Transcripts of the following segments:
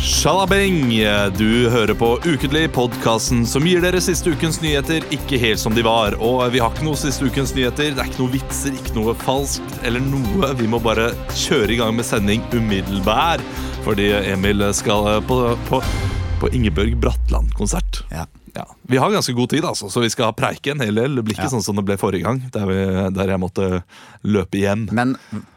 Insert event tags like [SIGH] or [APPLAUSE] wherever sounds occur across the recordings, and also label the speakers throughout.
Speaker 1: Sjalabeng! Du hører på Ukentlig, podkasten som gir dere siste ukens nyheter ikke helt som de var. Og vi har ikke noe siste ukens nyheter. Det er ikke noe vitser, ikke noe falskt eller noe. Vi må bare kjøre i gang med sending umiddelbær, fordi Emil skal eh, på, på, på Ingebjørg Bratland-konsert.
Speaker 2: Ja.
Speaker 1: Ja. Vi har ganske god tid, altså, så vi skal preike en hel del. Det blir ikke sånn som det ble forrige gang, der, vi, der jeg måtte løpe hjem.
Speaker 2: Men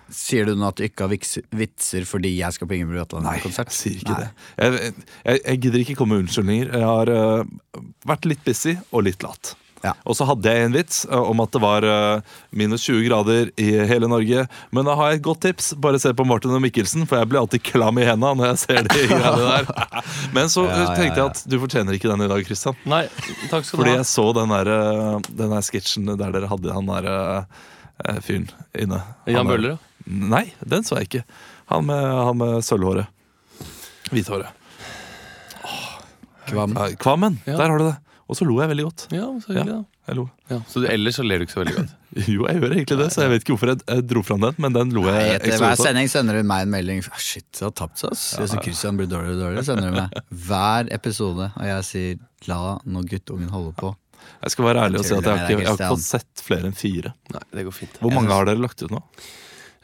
Speaker 2: sier du nå at du ikke har viks- vitser fordi jeg skal på Ingeborg
Speaker 1: Nei,
Speaker 2: Bratland-konsert?
Speaker 1: jeg sier ikke det. Jeg, jeg, jeg gidder ikke komme med unnskyldninger. Jeg har øh, vært litt busy og litt lat.
Speaker 2: Ja.
Speaker 1: Og så hadde jeg en vits øh, om at det var øh, minus 20 grader i hele Norge. Men da har jeg et godt tips. Bare se på Martin og Mikkelsen, for jeg blir alltid klam i henda når jeg ser de greiene der. Men så eh,
Speaker 2: Ja, ja,
Speaker 1: tenkte
Speaker 2: ja.
Speaker 1: jeg at du fortjener ikke den i dag, Christian.
Speaker 3: Nei, takk skal du
Speaker 1: Fordi
Speaker 3: ha.
Speaker 1: jeg så den der, øh, den der sketsjen der dere hadde han der øh, fyren inne. Han
Speaker 3: Jan
Speaker 1: der-
Speaker 3: Bøhler, ja.
Speaker 1: Nei, den så jeg ikke. Han med, han med sølvhåret. Hvithåret.
Speaker 2: Kvam.
Speaker 1: Eh, Kvammen,
Speaker 3: Ja.
Speaker 1: der har du det. Og så lo jeg veldig godt.
Speaker 3: Ja, så hyggelig, da.
Speaker 1: Jeg lo.
Speaker 3: Ja, så du, ellers så ler du ikke så veldig godt.
Speaker 1: Jo, jeg gjør egentlig det, så jeg vet ikke hvorfor jeg, jeg dro fram den, men den lo
Speaker 2: Nei,
Speaker 1: jeg
Speaker 2: Etter
Speaker 1: ekstra
Speaker 2: hver
Speaker 1: godt av.
Speaker 2: sending sender du meg en melding ah, Shit, det har tapt seg ass Jeg synes Kristian blir dårligere og dårligere Sender du meg hver episode Og jeg sier La nå guttungen holde på
Speaker 1: Jeg skal være ærlig og si at jeg har
Speaker 2: Nei,
Speaker 1: ikke, jeg har
Speaker 2: Christian.
Speaker 1: ikke fått sett flere enn fire.
Speaker 3: [LAUGHS] Nei, det går fint.
Speaker 1: Hvor
Speaker 2: Jeg
Speaker 1: mange
Speaker 2: synes-
Speaker 1: har dere lagt ut nå?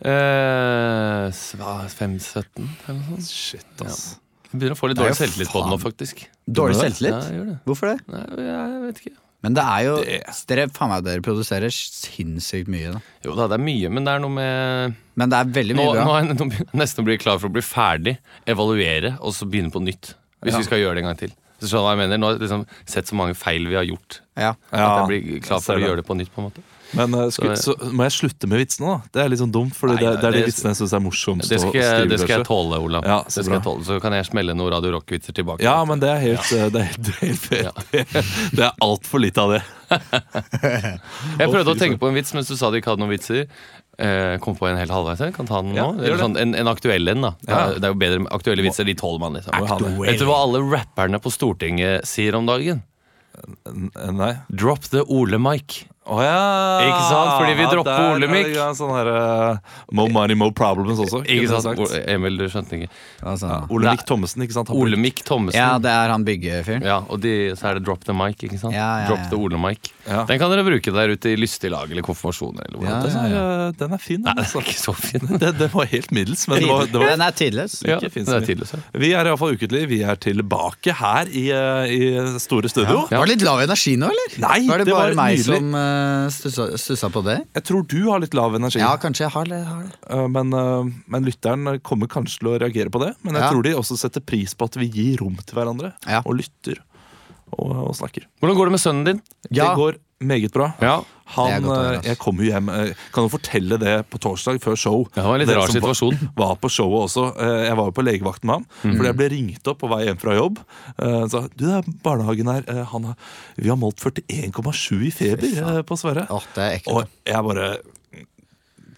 Speaker 3: Eh, sva- 5-17 eller noe sånt.
Speaker 1: Shit, ass.
Speaker 3: Jeg begynner å få litt
Speaker 2: Nei,
Speaker 3: dårlig selvtillit på den nå,
Speaker 2: faen.
Speaker 3: faktisk.
Speaker 2: Dårlig
Speaker 3: Ja,
Speaker 2: selvtillit
Speaker 3: jeg gjør det.
Speaker 2: Hvorfor det?
Speaker 3: Nei, jeg vet ikke.
Speaker 2: Men det er jo
Speaker 1: Det-
Speaker 2: Dere, faen meg, dere produserer sinnssykt mye da.
Speaker 3: Jo da, det er mye, men det er noe med
Speaker 2: Men det er veldig
Speaker 3: Nå,
Speaker 2: mye
Speaker 3: nå
Speaker 2: bra
Speaker 3: er jeg nå begynner jeg nesten å bli klar for å bli ferdig, evaluere, og så begynne på nytt. Hvis vi skal gjøre det en gang til. Så skjønner du hva jeg mener? Nå har jeg liksom sett så mange feil vi har gjort.
Speaker 2: ja.
Speaker 1: Ja,
Speaker 3: at jeg blir
Speaker 1: jeg
Speaker 3: klar
Speaker 1: ser
Speaker 3: for å
Speaker 1: det.
Speaker 3: gjøre det på nytt, på en måte.
Speaker 1: Men eh, sku,
Speaker 3: Så-
Speaker 1: så, må jeg slutte med vitsene, da? Det er litt sånn dumt, for
Speaker 3: Nei,
Speaker 1: det, det er de
Speaker 3: det-
Speaker 1: vitsene jeg syns er morsomst.
Speaker 3: Det
Speaker 1: å
Speaker 3: skal, jeg,
Speaker 1: skrive,
Speaker 3: det skal jeg
Speaker 1: kanskje.
Speaker 3: tåle, Olav.
Speaker 1: Ja, så
Speaker 3: så, det skal jeg
Speaker 1: bra.
Speaker 3: tåle. så kan jeg smelle noen Radio Rock-vitser tilbake.
Speaker 1: Ja, men det er helt eh, Det er, helt- [LAUGHS] det er, helt fair. Det er altfor lite av det.
Speaker 3: Jeg prøvde
Speaker 1: fy
Speaker 3: å tenke på en vits mens du sa du ikke hadde noen vitser. Eh, kom på en helt halvveis her. Kan ta den nå.
Speaker 1: Ja, gjør
Speaker 3: Eller
Speaker 1: det.
Speaker 3: sånn, en, en aktuell en, da.
Speaker 1: Ja.
Speaker 3: Det er jo bedre med aktuelle vitser. De tåler man, liksom.
Speaker 1: Må ha det.
Speaker 3: Vet du hva alle rapperne på Stortinget sier om dagen?
Speaker 1: N- Eh, Nei.
Speaker 3: Drop the Ole-mic.
Speaker 1: Å ja!
Speaker 3: Ikke sant? Fordi vi dropper
Speaker 1: der
Speaker 3: Ole Mikk.
Speaker 1: er det en Sånn her, eh, Mo money, mo problems også.
Speaker 3: Ikke
Speaker 1: kunne
Speaker 3: sant?
Speaker 1: jeg sagt.
Speaker 3: O- Emil, du skjønte ikke.
Speaker 2: Altså,
Speaker 1: Ole
Speaker 3: Nei.
Speaker 1: Mikk Thommessen, ikke sant? Han-
Speaker 3: Ole-mic Thommessen.
Speaker 2: ja,
Speaker 3: Ja,
Speaker 2: det er han byggefyren
Speaker 3: og de, så er det drop the mic, ikke sant?
Speaker 2: Ja, ja,
Speaker 3: Drop
Speaker 2: ja.
Speaker 3: the Ole-mic.
Speaker 1: Ja.
Speaker 3: Den kan dere bruke der ute i lystig lag eller konfirmasjoner eller hvor
Speaker 2: Ja,
Speaker 3: det er.
Speaker 1: Den, er, eh, den er fin, den. Altså.
Speaker 3: [LAUGHS] Ikke så fin.
Speaker 1: Det, det var helt middels, men det var, det var
Speaker 2: Den er tidløs
Speaker 1: [LAUGHS]
Speaker 3: Ja,
Speaker 1: ikke
Speaker 3: det
Speaker 1: fin
Speaker 3: er
Speaker 1: stil.
Speaker 3: tidløs. ja.
Speaker 1: Vi er iallfall ukentlig. Vi er tilbake her i, eh, i store studio.
Speaker 3: Ja.
Speaker 2: Var det litt lav energi nå, eller?
Speaker 1: Nei,
Speaker 2: var det
Speaker 1: det
Speaker 2: bare
Speaker 1: var
Speaker 2: meg
Speaker 1: nydelig.
Speaker 2: som eh, stussa, stussa på det?
Speaker 1: Jeg tror du har litt lav energi,
Speaker 2: Ja, kanskje jeg har det, har det.
Speaker 1: eh, men, eh, men lytteren kommer kanskje til å reagere på det. Men jeg
Speaker 2: Ja.
Speaker 1: tror de også setter pris på at vi gir rom til hverandre
Speaker 2: Ja.
Speaker 1: og lytter og, og snakker.
Speaker 3: Hvordan går det med sønnen din?
Speaker 2: Ja.
Speaker 1: Det går meget bra.
Speaker 3: Ja.
Speaker 2: Det er
Speaker 1: Han,
Speaker 2: godt å høre,
Speaker 1: eh,
Speaker 2: ass.
Speaker 1: jeg kom jo hjem eh, Kan jo fortelle det på torsdag før show.
Speaker 3: Det var en litt
Speaker 1: Dere
Speaker 3: rar
Speaker 1: som var-
Speaker 3: situasjon.
Speaker 1: [LAUGHS]
Speaker 3: Mhm.
Speaker 1: Var på showet også. Eh, Jeg var jo på legevakten med ham. Fordi jeg ble ringt opp på vei hjem fra jobb. Eh, Sa du, det er barnehagen her. eh, Han har, vi har målt 41,7 i feber eh, på Sverre.
Speaker 2: Åh, det er ekkelt
Speaker 1: Og jeg bare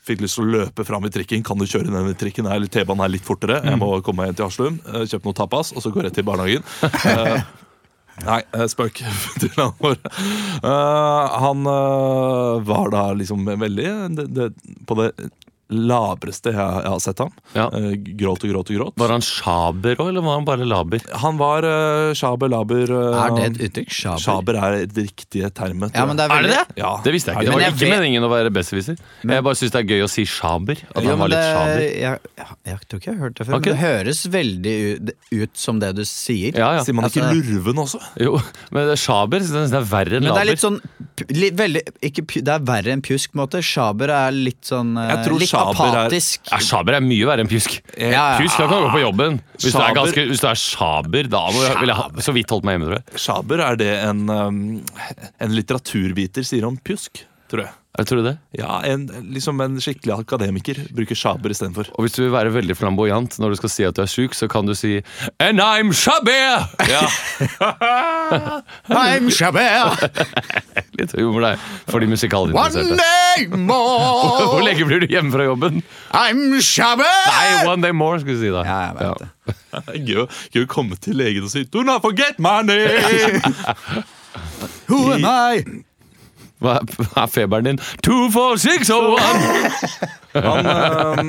Speaker 1: fikk lyst til å løpe fram i trikken. Kan du kjøre denne trikken her, eller T-banen her litt fortere? Jeg
Speaker 2: Mm.
Speaker 1: må komme meg hjem til Haslum, eh, kjøpe noe tapas, og så gå rett til barnehagen. Eh, Nei, eh, spøk [LAUGHS] til han vår. Eh, han eh, var da liksom veldig det, det, på det labreste jeg, jeg har sett ham.
Speaker 3: Ja.
Speaker 1: Eh, gråt og gråt og gråt.
Speaker 3: Var han sjaber òg, eller var han bare laber?
Speaker 1: Han var uh, sjaber laber eh,
Speaker 2: Er det et uttrykk? Sjaber?
Speaker 1: Sjaber er det riktige termet. tror
Speaker 2: Ja, men det er,
Speaker 3: Er det
Speaker 2: veldig-
Speaker 3: det?
Speaker 1: jeg. ja.
Speaker 3: Det visste jeg
Speaker 1: Er
Speaker 3: ikke. Det
Speaker 2: Men
Speaker 3: var
Speaker 2: jeg
Speaker 3: ikke
Speaker 2: vet-
Speaker 3: meningen å være besserwisser. Jeg bare syns det er gøy å si sjaber. At
Speaker 2: Jo,
Speaker 3: han
Speaker 2: men
Speaker 3: var litt sjaber.
Speaker 2: det- jeg, jeg, jeg tror ikke jeg har hørt det før.
Speaker 3: Har ikke
Speaker 2: Men det høres veldig ut, ut som det du sier.
Speaker 3: Ja, ja.
Speaker 1: Sier man ikke
Speaker 2: Altså-
Speaker 1: lurven også?
Speaker 3: Jo, men det er sjaber så det er verre enn
Speaker 2: Men det er
Speaker 3: laber.
Speaker 2: litt sånn pu- li, veldig, ikke, pu- Det er verre enn pjusk, på en måte. Sjaber er litt sånn eh,
Speaker 1: Jeg tror
Speaker 2: Litt
Speaker 1: sjaber er-
Speaker 2: apatisk.
Speaker 3: Ja, sjaber er mye verre enn pjusk.
Speaker 2: ja.
Speaker 3: Pjusk, da kan du gå på jobben. Hvis du,
Speaker 1: Sjaber-
Speaker 3: er ganske, hvis du er sjaber, da må jeg, vil jeg ha så vidt holdt meg hjemme. Tror jeg.
Speaker 1: Sjaber er det en, um, en litteraturviter sier om pjusk, tror jeg.
Speaker 3: jeg tror det.
Speaker 1: Ja, en, liksom en skikkelig akademiker bruker sjaber [LAUGHS] istedenfor.
Speaker 3: Og hvis du vil være veldig flamboyant når du skal si at du er sjuk, så kan du si And
Speaker 2: [LAUGHS]
Speaker 3: I'm sjaber!
Speaker 1: Ja.
Speaker 2: I'm sjaber!
Speaker 3: Litt humor der for de
Speaker 2: One
Speaker 3: musikalinteresserte.
Speaker 2: day
Speaker 3: [LAUGHS] Hvor
Speaker 2: more!
Speaker 3: lenge blir du hjemme fra jobben?
Speaker 2: I'm
Speaker 3: Nei,
Speaker 2: sjaber!
Speaker 3: One Day More skulle du si da.
Speaker 2: Ja, jeg vet det.
Speaker 1: Gøy å- gøy å komme til legen og si 'Do not forget my name'!
Speaker 2: Who am I?
Speaker 3: Hva er- hva er feberen din? Two, four, six, oh, one!
Speaker 1: [LAUGHS] Han,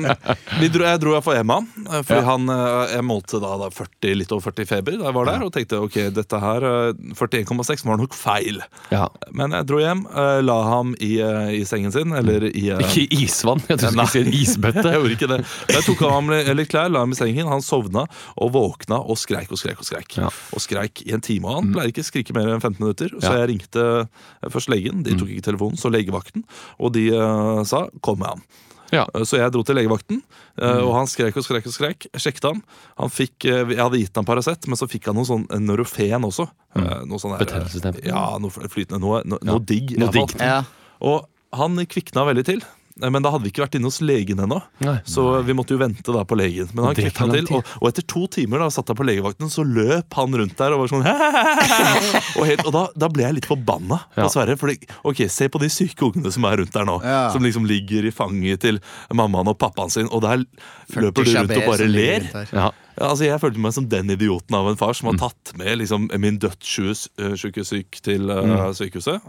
Speaker 1: eh, vi dro, jeg dro iallfall hjem med han, eh, fordi han eh, Jeg målte da, da 40, litt over 40 feber da jeg var der, og tenkte ok, dette her eh, 41,6 var nok feil.
Speaker 3: Ja.
Speaker 1: Men jeg dro hjem, eh, la ham i, eh, i sengen sin, eller i [LAUGHS] eh,
Speaker 3: Ikke isvann. Jeg trodde du skulle si en isbøtte.
Speaker 1: Jeg gjorde ikke det. Jeg tok av ham litt klær, la ham i sengen, han sovna og våkna og skreik og skreik. Og skreik
Speaker 3: Ja. Mm.
Speaker 1: Og skreik i en time. og Han pleier ikke å skrike mer enn 15 minutter. Så
Speaker 3: Ja. Mm.
Speaker 1: jeg ringte eh, først legen, de tok ikke telefonen, så legevakten, og de eh, sa 'kom med ham'.
Speaker 3: Ja.
Speaker 1: Eh, Så jeg dro til legevakten, eh,
Speaker 3: Mm.
Speaker 1: og han skrek og skrek. og skrek Jeg sjekket ham. Han fikk, eh, jeg hadde gitt ham Paracet, men så fikk han noe sånn Norofen også.
Speaker 3: Mm.
Speaker 1: Eh, Noe sånn der, eh,
Speaker 3: Betennelsesdemper.
Speaker 1: Ja, noe flytende. Noe, noe, noe digg.
Speaker 3: Noe digg.
Speaker 2: Ja.
Speaker 1: Og han kvikna veldig til. eh, Men da hadde vi ikke vært inne hos legen ennå.
Speaker 3: Nei.
Speaker 1: Så vi måtte jo vente da på legen. Men han
Speaker 3: det tar
Speaker 1: kvikna
Speaker 3: lang
Speaker 1: til, og, og etter to timer da satt han på legevakten, så løp han rundt der og var sånn [LAUGHS] Og, helt, og da, da ble jeg litt forbanna på
Speaker 3: Ja.
Speaker 1: Sverre. For ok, se på de syke ungene som er rundt der nå.
Speaker 2: Ja.
Speaker 1: Som liksom ligger i fanget til mammaen og pappaen sin, og der løper du rundt
Speaker 2: Shabé
Speaker 1: og bare
Speaker 2: som ligger
Speaker 1: ler.
Speaker 2: rundt der.
Speaker 3: Ja.
Speaker 1: Ja, altså Jeg følte meg som den idioten av en far som
Speaker 3: Mm.
Speaker 1: har tatt med liksom, min dødssyke syk til
Speaker 3: Mm.
Speaker 1: eh, sykehuset.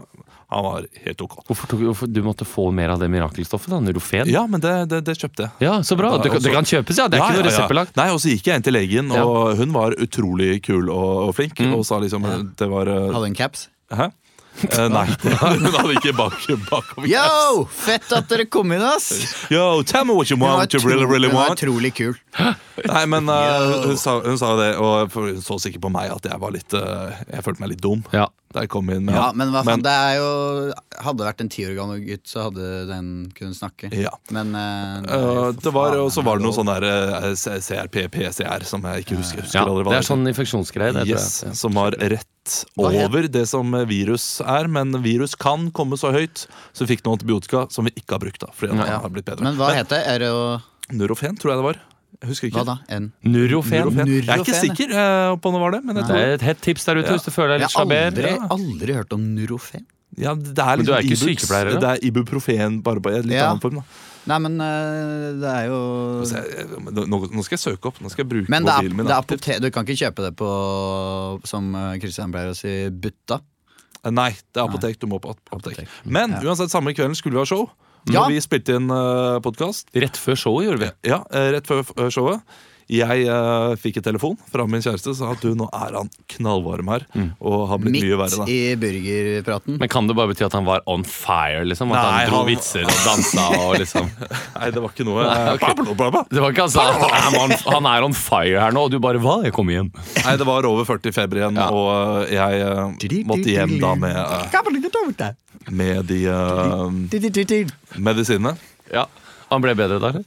Speaker 1: Han var helt ok.
Speaker 3: Hvorfor, tok, hvorfor Du måtte få mer av det mirakelstoffet? da, Nurofen?
Speaker 1: Ja, men det, det, det kjøpte jeg.
Speaker 3: Ja, så bra.
Speaker 1: Da-
Speaker 3: Det,
Speaker 1: og så-
Speaker 3: det kan kjøpes, ja. Det er
Speaker 1: Ja,
Speaker 3: ikke
Speaker 1: ja,
Speaker 3: noe
Speaker 1: ja.
Speaker 3: reseptbelagt.
Speaker 1: Nei, og så gikk jeg inn til legen,
Speaker 3: Ja.
Speaker 1: og hun var utrolig kul og, og flink. Og sa liksom Det var eh,
Speaker 2: Hadde en
Speaker 1: [LAUGHS]
Speaker 2: caps.
Speaker 1: Hæ? Eh, nei, [LAUGHS] hun hadde ikke bak, bakover.
Speaker 2: Yo! Fett at dere kom inn, ass!
Speaker 1: [LAUGHS] Yo, tell me what you
Speaker 2: Den var,
Speaker 1: want, you really,
Speaker 2: tro-
Speaker 1: really
Speaker 2: den var
Speaker 1: want.
Speaker 2: utrolig kul.
Speaker 1: Nei, men eh,
Speaker 2: Yo.
Speaker 1: hun, sa, hun sa det, og for hun så sikkert på meg at jeg var litt eh, Jeg følte meg litt dum
Speaker 3: Ja.
Speaker 1: da jeg kom inn. med
Speaker 2: Ja,
Speaker 1: han.
Speaker 2: men hva faen, det er jo Hadde det vært en ti år gammel gutt, så hadde den kunnet snakke.
Speaker 1: Ja.
Speaker 2: Men eh, det er jo for
Speaker 1: Eh, det var,
Speaker 2: faen
Speaker 1: Og så var det noe
Speaker 2: lov.
Speaker 1: sånn der eh, C- CRP, PCR, som jeg ikke husker. husker
Speaker 3: ja.
Speaker 1: aldri hva
Speaker 3: Det er
Speaker 1: heter.
Speaker 3: sånn infeksjonsgreie. Det, tror jeg.
Speaker 1: Yes, som var rett
Speaker 2: Hva het-
Speaker 1: over det som virus er, men virus kan komme så høyt, så vi fikk noe antibiotika som vi ikke har brukt. da, fordi den
Speaker 2: Ja.
Speaker 1: har blitt bedre.
Speaker 2: Men hva het det? Er det jo
Speaker 1: Nurofen, tror jeg det var. Jeg husker
Speaker 2: Hva
Speaker 1: ikke.
Speaker 2: da? En
Speaker 3: Nurofen.
Speaker 1: Nurofen. Jeg er ikke
Speaker 2: Nurofen, ja.
Speaker 1: sikker eh, på om det var det, men jeg
Speaker 3: Det
Speaker 1: tror
Speaker 3: er et hett tips der ute
Speaker 1: Ja.
Speaker 3: hvis du føler deg
Speaker 2: Jeg
Speaker 3: litt
Speaker 2: har
Speaker 3: sjaber.
Speaker 2: aldri,
Speaker 1: ja.
Speaker 2: aldri hørt om Nurofen.
Speaker 1: ja, det er
Speaker 3: Men du er
Speaker 1: liksom
Speaker 3: ikke
Speaker 1: Ibux.
Speaker 3: sykepleier, da?
Speaker 1: Det er ibuprofen bare på en litt
Speaker 2: Ja.
Speaker 1: annen form. da
Speaker 2: Nei, men eh, det er jo
Speaker 1: Så jeg, nå, nå skal jeg søke opp. Nå skal jeg bruke
Speaker 2: Men det er,
Speaker 1: mobilen min.
Speaker 2: det er
Speaker 1: aktivt.
Speaker 2: apote- du kan ikke kjøpe det på, som eh, Christian pleier å si, butta.
Speaker 1: Eh, Nei, det er apotek. Du må på ap- apotek.
Speaker 2: Apotek.
Speaker 1: Men
Speaker 2: Ja.
Speaker 1: uansett, samme kvelden skulle vi ha show.
Speaker 2: Ja.
Speaker 1: Og vi spilte inn uh, podkast.
Speaker 3: Rett før showet gjorde vi.
Speaker 1: Ja, eh, rett før før showet. Jeg eh, fikk en telefon fra min kjæreste som sa at du, nå er han knallvarm her. Og har blitt
Speaker 2: Midt
Speaker 1: mye verre, da.
Speaker 2: i burgerpraten.
Speaker 3: Men kan det bare bety at han var on fire? liksom? At
Speaker 1: Nei,
Speaker 3: han dro
Speaker 1: han-
Speaker 3: vitser og dansa og liksom
Speaker 1: [LAUGHS] Nei, det var ikke noe. eh, bla, bla, bla.
Speaker 3: Det var ikke altså, han, er on- han er on fire her nå, og du bare Hva? Jeg kom igjen.
Speaker 1: Nei, det var over 40 feber igjen,
Speaker 3: Ja.
Speaker 1: og eh, jeg eh, måtte hjem da med, eh, med de eh, medisinene.
Speaker 3: Ja, Han ble bedre der?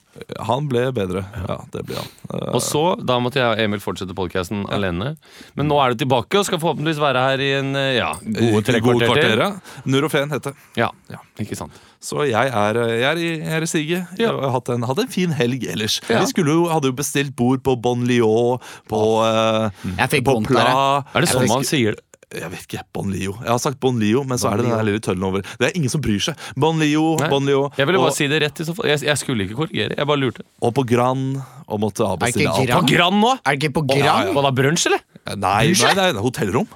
Speaker 1: Han ble bedre. Ja, det ble han. Eh,
Speaker 3: Og så, da måtte jeg og Emil fortsette podkasten alene. Men nå er du tilbake og skal forhåpentligvis være her i en eh, ja, gode tre
Speaker 1: gode
Speaker 3: kvarter til.
Speaker 1: ja. Nurofen heter det.
Speaker 3: Ja,
Speaker 1: Ja.
Speaker 3: ikke sant.
Speaker 1: Så jeg er, eh, jeg er, i- jeg er i siget. Jeg har hatt en, hatt en fin helg ellers.
Speaker 3: Ja.
Speaker 1: Vi skulle jo, hadde jo bestilt bord på Bon Lio, på, eh,
Speaker 2: Mm. Jeg fikk
Speaker 1: på
Speaker 2: vondt
Speaker 1: Pla
Speaker 3: Er det sånn man sier det?
Speaker 1: Jeg vet ikke. Bon Lio. Jeg har sagt Bon Lio, men så er det den
Speaker 2: Lio.
Speaker 1: der lille tøddelen over. Det er ingen som bryr seg. Bon Lio,
Speaker 3: Nei.
Speaker 1: Bon Lio.
Speaker 3: Jeg ville
Speaker 1: og,
Speaker 3: bare si det rett. i så fall Jeg, jeg skulle ikke korrigere. Jeg bare lurte.
Speaker 1: og på Gran. Og måtte avbestille
Speaker 2: Er ikke
Speaker 1: alt.
Speaker 2: Gran?
Speaker 3: På Gran nå?
Speaker 2: Er det ikke på
Speaker 3: Ja,
Speaker 2: Gran?
Speaker 3: Var det brunsj, eller?
Speaker 1: Nei, nei, nei, hotellrom.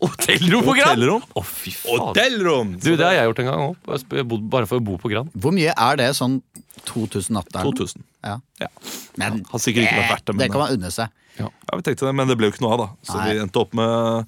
Speaker 3: Hotellrom på Gran?
Speaker 1: Hotellrom.
Speaker 3: Å, fy faen.
Speaker 1: Hotellrom!
Speaker 3: Du, Det har jeg gjort en gang òg. Bare for å bo på Gran.
Speaker 2: Hvor mye er det sånn 2000-natteren?
Speaker 1: 2000.
Speaker 2: Ja.
Speaker 1: Ja.
Speaker 2: Men
Speaker 1: Har sikkert ikke vært verdt det, men-
Speaker 2: det kan man unne seg.
Speaker 1: Ja, vi tenkte det, men det ble jo ikke noe av, da. Så
Speaker 2: Nei.
Speaker 1: vi endte opp med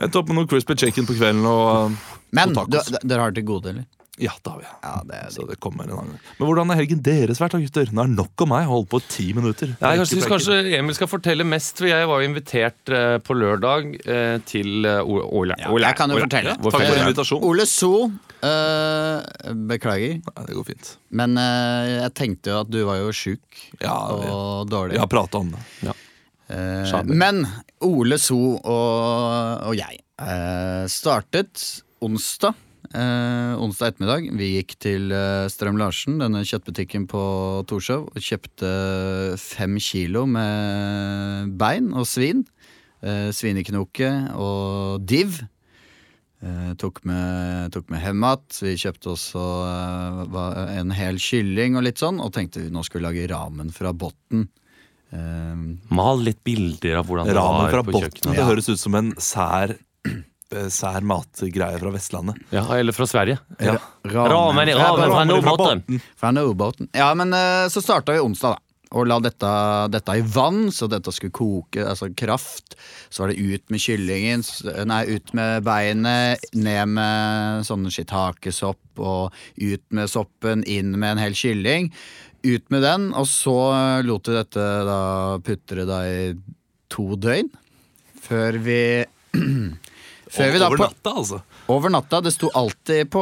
Speaker 1: Endte opp med noe crispy chicken på kvelden og
Speaker 2: Men
Speaker 1: Og
Speaker 2: du,
Speaker 1: tacos.
Speaker 2: dere har det til gode, eller?
Speaker 1: Ja, det har vi.
Speaker 2: Ja, det er
Speaker 1: Så det kommer en annen gang. Men hvordan har helgen deres vært, da, gutter? Nå er det nok om meg. Jeg har holdt på i ti minutter.
Speaker 3: Nei, jeg synes
Speaker 1: Ikke
Speaker 3: kanskje Emil skal fortelle mest, for jeg var jo invitert eh, på lørdag eh, til eh, O- Ole. Ole.
Speaker 2: jeg kan jo
Speaker 3: Ole.
Speaker 2: fortelle.
Speaker 1: preiker.
Speaker 3: Ja,
Speaker 1: Takk for
Speaker 3: fortell.
Speaker 1: invitasjonen.
Speaker 2: Ole So, eh, beklager,
Speaker 1: Nei, det går fint.
Speaker 2: men eh, jeg tenkte jo at du var jo sjuk
Speaker 1: Ja, vi,
Speaker 2: og dårlig.
Speaker 1: vi har prata om det.
Speaker 2: Eh,
Speaker 3: Sjaber.
Speaker 2: men Ole So og, og jeg eh, startet onsdag. Eh, onsdag ettermiddag. Vi gikk til eh, Strøm Larsen, denne kjøttbutikken på Torshov, og kjøpte fem kilo med bein og svin. Eh, svineknoke og div. Eh, tok med, tok med hemat. Vi kjøpte også eh, hva- en hel kylling og litt sånn, og tenkte vi nå skulle vi lage ramen fra botten. Eh,
Speaker 3: Mal litt bilder av hvordan det
Speaker 1: Ramen
Speaker 3: var
Speaker 1: fra
Speaker 3: på
Speaker 1: Botn.
Speaker 3: kjøkkenet.
Speaker 1: Det høres ut som en sær [CLEARS THROAT] eh, sær matgreie fra Vestlandet.
Speaker 3: Ja, eller fra Sverige.
Speaker 1: Ja.
Speaker 3: Ramen i ramen fra Nordbotten.
Speaker 2: Fra Nobåten. Ja, men eh, så starta vi onsdag, da. Og la dette, dette i vann, så dette skulle koke. Altså kraft. Så var det ut med kyllingen. s- Nei, ut med beinet. Ned med sånn shitakesopp. Og ut med soppen, inn med en hel kylling. Ut med den, og så eh, lot vi dette da putre da i to døgn. Før vi [CLEARS THROAT] Før vi da
Speaker 1: Over
Speaker 2: på
Speaker 1: natta, altså.
Speaker 2: over natta. Det sto alltid på,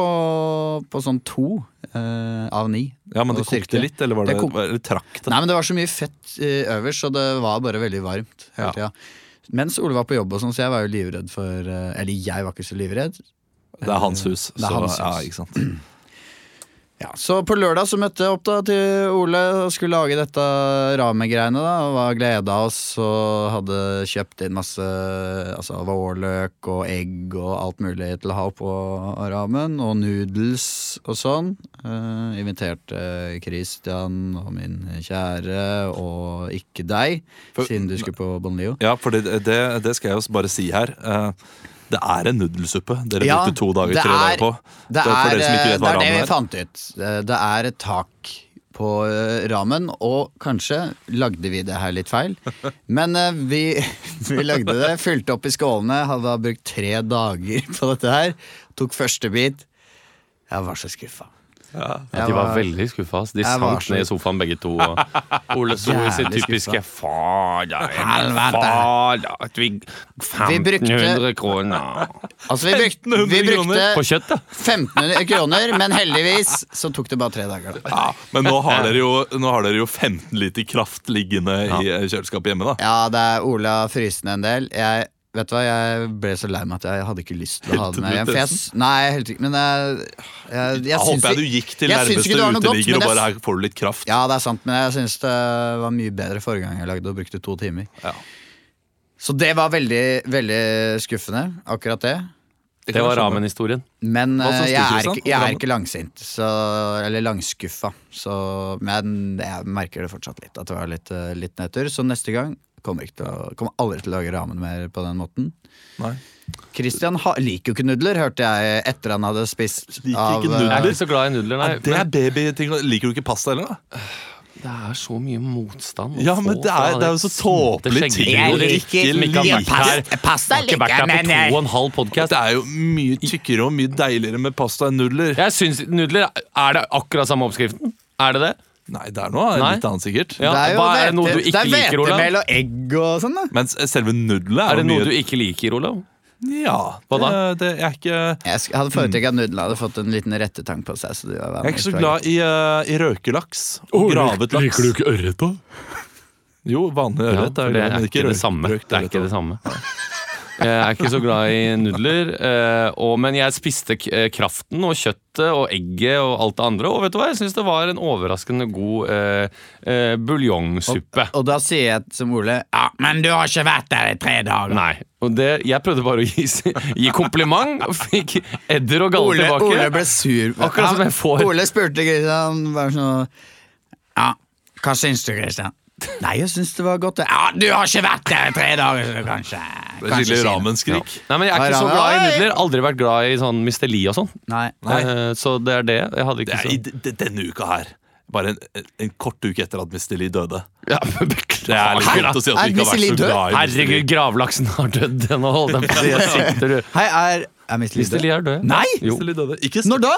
Speaker 2: på sånn to eh, av ni.
Speaker 1: Ja, Men
Speaker 2: Og
Speaker 1: det kokte
Speaker 2: styrke.
Speaker 1: litt, eller var det,
Speaker 2: kok-
Speaker 1: var- eller trakk det?
Speaker 2: Nei, men det var så mye fett eh, øverst, så det var bare veldig varmt hele
Speaker 1: Ja.
Speaker 2: tida. Mens Ole var på jobb, og sånn, så jeg var jo livredd for eh, Eller jeg var ikke så livredd.
Speaker 1: Det er hans hus.
Speaker 2: Det er
Speaker 1: så,
Speaker 2: hans
Speaker 1: Ja,
Speaker 2: hus.
Speaker 1: ikke sant?
Speaker 2: Ja, Så på lørdag så møtte jeg opp da til Ole og skulle lage dette ramegreiene. da, og var gleda oss og hadde kjøpt inn masse altså vårløk og egg og alt mulig til å ha på ramen. Og noodles og sånn. Eh, inviterte Christian og min kjære og ikke deg,
Speaker 1: For-
Speaker 2: siden du skulle på Bon Lio.
Speaker 1: Ja, for det, det, det skal jeg jo bare si her. Eh, Det er en nudelsuppe dere
Speaker 2: Ja,
Speaker 1: brukte to dager,
Speaker 2: det
Speaker 1: tre
Speaker 2: er-
Speaker 1: dager på.
Speaker 2: Det
Speaker 1: for
Speaker 2: er, eh,
Speaker 1: dere som ikke
Speaker 2: det
Speaker 1: vet hva
Speaker 2: er det
Speaker 1: ramen
Speaker 2: vi
Speaker 1: er.
Speaker 2: fant ut. Eh, Det- Det er et tak på eh, ramen, og kanskje lagde vi det her litt
Speaker 1: [LAUGHS]
Speaker 2: feil. Men eh, vi, [LAUGHS] vi lagde det, fylte opp i skålene, hadde da brukt tre dager på dette her. Tok første bit. Jeg var så skuffa.
Speaker 3: Ja, de var veldig skuffa. ass. De
Speaker 2: Jeg var
Speaker 3: sank
Speaker 2: så-
Speaker 3: ned i sofaen begge to. Og Ole sto i sitt
Speaker 2: Jævlig
Speaker 3: typiske
Speaker 2: skuffa.
Speaker 3: Fader,
Speaker 2: Helvete.
Speaker 3: fader at vi
Speaker 2: Vi
Speaker 3: 1500
Speaker 2: brukte-
Speaker 3: kroner
Speaker 2: Altså, vi brukte,
Speaker 1: 1500
Speaker 2: vi
Speaker 3: på
Speaker 2: brukte
Speaker 3: kjøtt, da.
Speaker 2: 1500 kroner, men heldigvis så tok det bare tre dager. da.
Speaker 1: Ja, men nå har, dere jo, nå har dere jo 15 liter kraft liggende i eh, kjøleskapet hjemme, da.
Speaker 2: Ja, det er Ola frysende en del. Jeg, vet du hva, jeg ble så lei meg at jeg hadde ikke lyst til å ha
Speaker 1: Helte
Speaker 2: det med
Speaker 1: du
Speaker 2: hjem.
Speaker 1: ut
Speaker 2: for jeg
Speaker 1: testen?
Speaker 2: s- Nei, helt ikke. Men jeg, jeg, jeg
Speaker 1: Jeg
Speaker 2: syns
Speaker 1: håper
Speaker 2: ikke-
Speaker 1: jeg du gikk til
Speaker 2: jeg syns
Speaker 1: nærmeste
Speaker 2: ikke det var noe godt,
Speaker 1: uteligger
Speaker 2: men
Speaker 1: og
Speaker 2: jeg
Speaker 1: bare
Speaker 2: s-
Speaker 1: her får du litt kraft.
Speaker 2: Ja, det er sant, men jeg syns det var mye bedre forrige gang jeg lagde og brukte to timer.
Speaker 1: Ja.
Speaker 2: Så det var veldig, veldig skuffende, akkurat det.
Speaker 3: Det var ramen-historien.
Speaker 2: Men
Speaker 1: Hva slags
Speaker 2: eh, jeg er,
Speaker 1: tidsrus, da?
Speaker 2: ikke, jeg er
Speaker 1: Ramme?
Speaker 2: ikke langsint, så, eller langskuffa. Så, men jeg merker det fortsatt litt, at det var litt, eh, litt nedtur. Så neste gang kommer jeg ikke til å, kommer aldri til å lage ramen mer på den måten.
Speaker 1: Nei.
Speaker 2: Christian ha, liker jo ikke nudler, hørte jeg etter han hadde spist.
Speaker 1: Liker
Speaker 2: av, eh,
Speaker 1: ikke
Speaker 3: Jeg
Speaker 1: nudler?
Speaker 3: er ikke så glad i nudler, nei.
Speaker 1: Ja, det er
Speaker 3: men
Speaker 1: babyting. Liker du ikke pasta heller, da?
Speaker 3: det er så mye motstand. å
Speaker 1: Ja,
Speaker 3: få
Speaker 1: men det
Speaker 3: fra
Speaker 1: er, det er jo så tåpelige
Speaker 3: skjegget.
Speaker 1: ting.
Speaker 2: Jeg
Speaker 1: å
Speaker 2: liker
Speaker 1: ikke
Speaker 3: Ikke
Speaker 1: like.
Speaker 3: har vært her.
Speaker 2: Pasta- pasta
Speaker 3: Har ikke vært
Speaker 2: liker jeg,
Speaker 3: her på
Speaker 2: men-
Speaker 3: to og en halv podcast.
Speaker 1: Det er jo mye tykkere og mye deiligere med pasta enn nudler.
Speaker 3: Jeg synes nudler Er det akkurat samme oppskriften? Er det det?
Speaker 1: Nei, det er noe
Speaker 3: Nei.
Speaker 1: litt annet, sikkert.
Speaker 3: Ja. hva er det noe du
Speaker 2: det
Speaker 3: ikke
Speaker 2: er
Speaker 3: liker, Olav?
Speaker 2: hvetemel og egg og sånn, da.
Speaker 1: Mens selve nudlene
Speaker 3: Er
Speaker 1: er,
Speaker 3: det
Speaker 1: jo
Speaker 3: noe
Speaker 1: mye
Speaker 3: du ikke liker, Olav?
Speaker 1: Ja.
Speaker 3: Hva da?
Speaker 1: Det, det, jeg, er ikke, jeg
Speaker 2: Jeg sk- hadde foretrukket at nudlene hadde fått en liten rettetang på seg. Så det var
Speaker 1: er ikke så glad i, eh, i røkelaks. Og gravet laks.
Speaker 3: Liker du ikke ørret, da?
Speaker 1: Jo, vanlig
Speaker 3: Ja,
Speaker 1: ørret.
Speaker 3: for det er ikke det samme. Det er ikke det samme. [LAUGHS] Jeg er ikke så glad i nudler, eh, og, men jeg spiste k eh, kraften og kjøttet og egget og alt det andre, og vet du hva, jeg syns det var en overraskende god eh, eh, buljongsuppe.
Speaker 2: Og da sier jeg som Ole Ja, men du har ikke vært der i tre dager.
Speaker 3: Nei. Og det, jeg prøvde bare å gi, gi kompliment, og fikk edder og galle
Speaker 2: Ole,
Speaker 3: tilbake.
Speaker 2: Ole ble sur.
Speaker 3: Akkurat som jeg får.
Speaker 2: Ole spurte Christian bare sånn Ja, hva syns du, Christian? Nei, jeg syns det var godt. det.» Ja, du har ikke vært der i tre dager, så kanskje
Speaker 1: Det er skikkelig ramenskrik.
Speaker 3: Nei, men Jeg er ikke så glad i nudler. Aldri vært glad i sånn misteli og sånn.
Speaker 2: Nei.
Speaker 1: Nei.
Speaker 3: Eh, Så det er det. Jeg hadde
Speaker 1: Det
Speaker 3: ikke
Speaker 1: er i d- d- denne uka her. Bare en, en- en kort uke etter at Mr. Lee døde.
Speaker 3: Ja, men
Speaker 1: Det er litt
Speaker 3: beklager.
Speaker 1: vondt å si at
Speaker 2: Er
Speaker 1: du ikke har
Speaker 2: Mr. Lee
Speaker 1: vært så
Speaker 2: død?
Speaker 1: glad i Mr.
Speaker 3: Herregud,
Speaker 1: Lee.
Speaker 3: gravlaksen har dødd den og holdt den på å si. Jeg sitter du.
Speaker 2: Hei, er Er Miss
Speaker 3: Mr. Lee
Speaker 2: Lidde
Speaker 3: er død.
Speaker 2: Nei!
Speaker 3: Jo.
Speaker 1: Mr. Lee døde. Ikke s-
Speaker 2: Når da?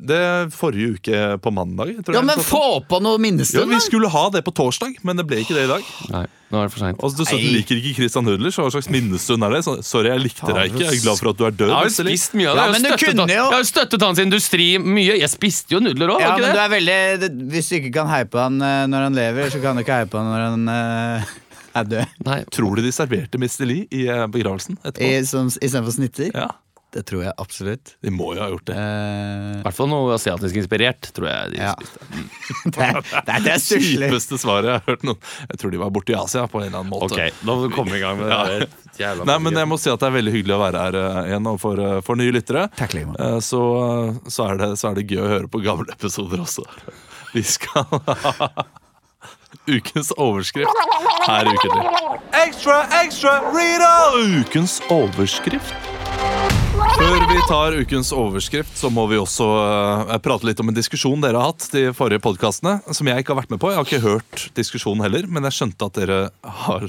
Speaker 1: Det er forrige uke på mandag. Tror
Speaker 2: Ja,
Speaker 1: jeg.
Speaker 2: men få på noe
Speaker 1: jo,
Speaker 2: minnestund,
Speaker 1: Vi
Speaker 2: da!
Speaker 1: skulle ha det på torsdag, men det ble ikke det i dag.
Speaker 3: Nei, nå er det for seint.
Speaker 1: Og Dessuten
Speaker 2: Nei.
Speaker 1: liker ikke Christian Nudler, så hva slags minnestund er det? Så, sorry, jeg likte deg ikke. Jeg er glad for at du er død.
Speaker 3: Jeg har jo
Speaker 1: Mr. Lee.
Speaker 3: spist mye av det.
Speaker 2: Ja,
Speaker 3: Jeg har
Speaker 2: men du
Speaker 3: støttet
Speaker 2: kunne
Speaker 3: han-
Speaker 2: jo-
Speaker 3: Jeg har jo støttet hans industri mye. Jeg spiste jo nudler òg,
Speaker 2: Ja,
Speaker 3: ikke
Speaker 2: men du
Speaker 3: det?
Speaker 2: er veldig det- Hvis du ikke kan heipe han eh, når han lever, så kan du ikke heipe han når han eh, [LAUGHS] er død.
Speaker 3: Nei.
Speaker 1: Tror du de serverte Mr. Lee i eh, begravelsen etterpå?
Speaker 2: Istedenfor snitter?
Speaker 1: Ja,
Speaker 2: Det tror jeg absolutt.
Speaker 1: De må jo ha gjort det.
Speaker 2: Eh,
Speaker 3: I hvert fall noe asiatisk inspirert, tror jeg. De
Speaker 2: ja.
Speaker 3: spiste.
Speaker 2: [LAUGHS] Det er, det er, det er stusslig.
Speaker 1: Kjipeste svaret jeg har hørt noen. Jeg tror de var borte i Asia på en eller annen måte.
Speaker 3: Ok, da må du komme i gang med det der jævla
Speaker 1: Nei, men jeg må si at det er veldig hyggelig å være her eh, igjen og for, eh, for nye lyttere.
Speaker 2: Takk, Limo.
Speaker 1: Eh, Så, så, er det, så er det gøy å høre på gamle episoder også. Vi skal ha ukens overskrift her i Ukentlig. Ekstra, ekstra, Rita! Ukens overskrift. Før vi tar ukens overskrift, så må vi også eh, prate litt om en diskusjon dere har hatt de forrige podkastene, som jeg ikke har vært med på. Jeg har ikke hørt diskusjonen heller, men jeg skjønte at dere har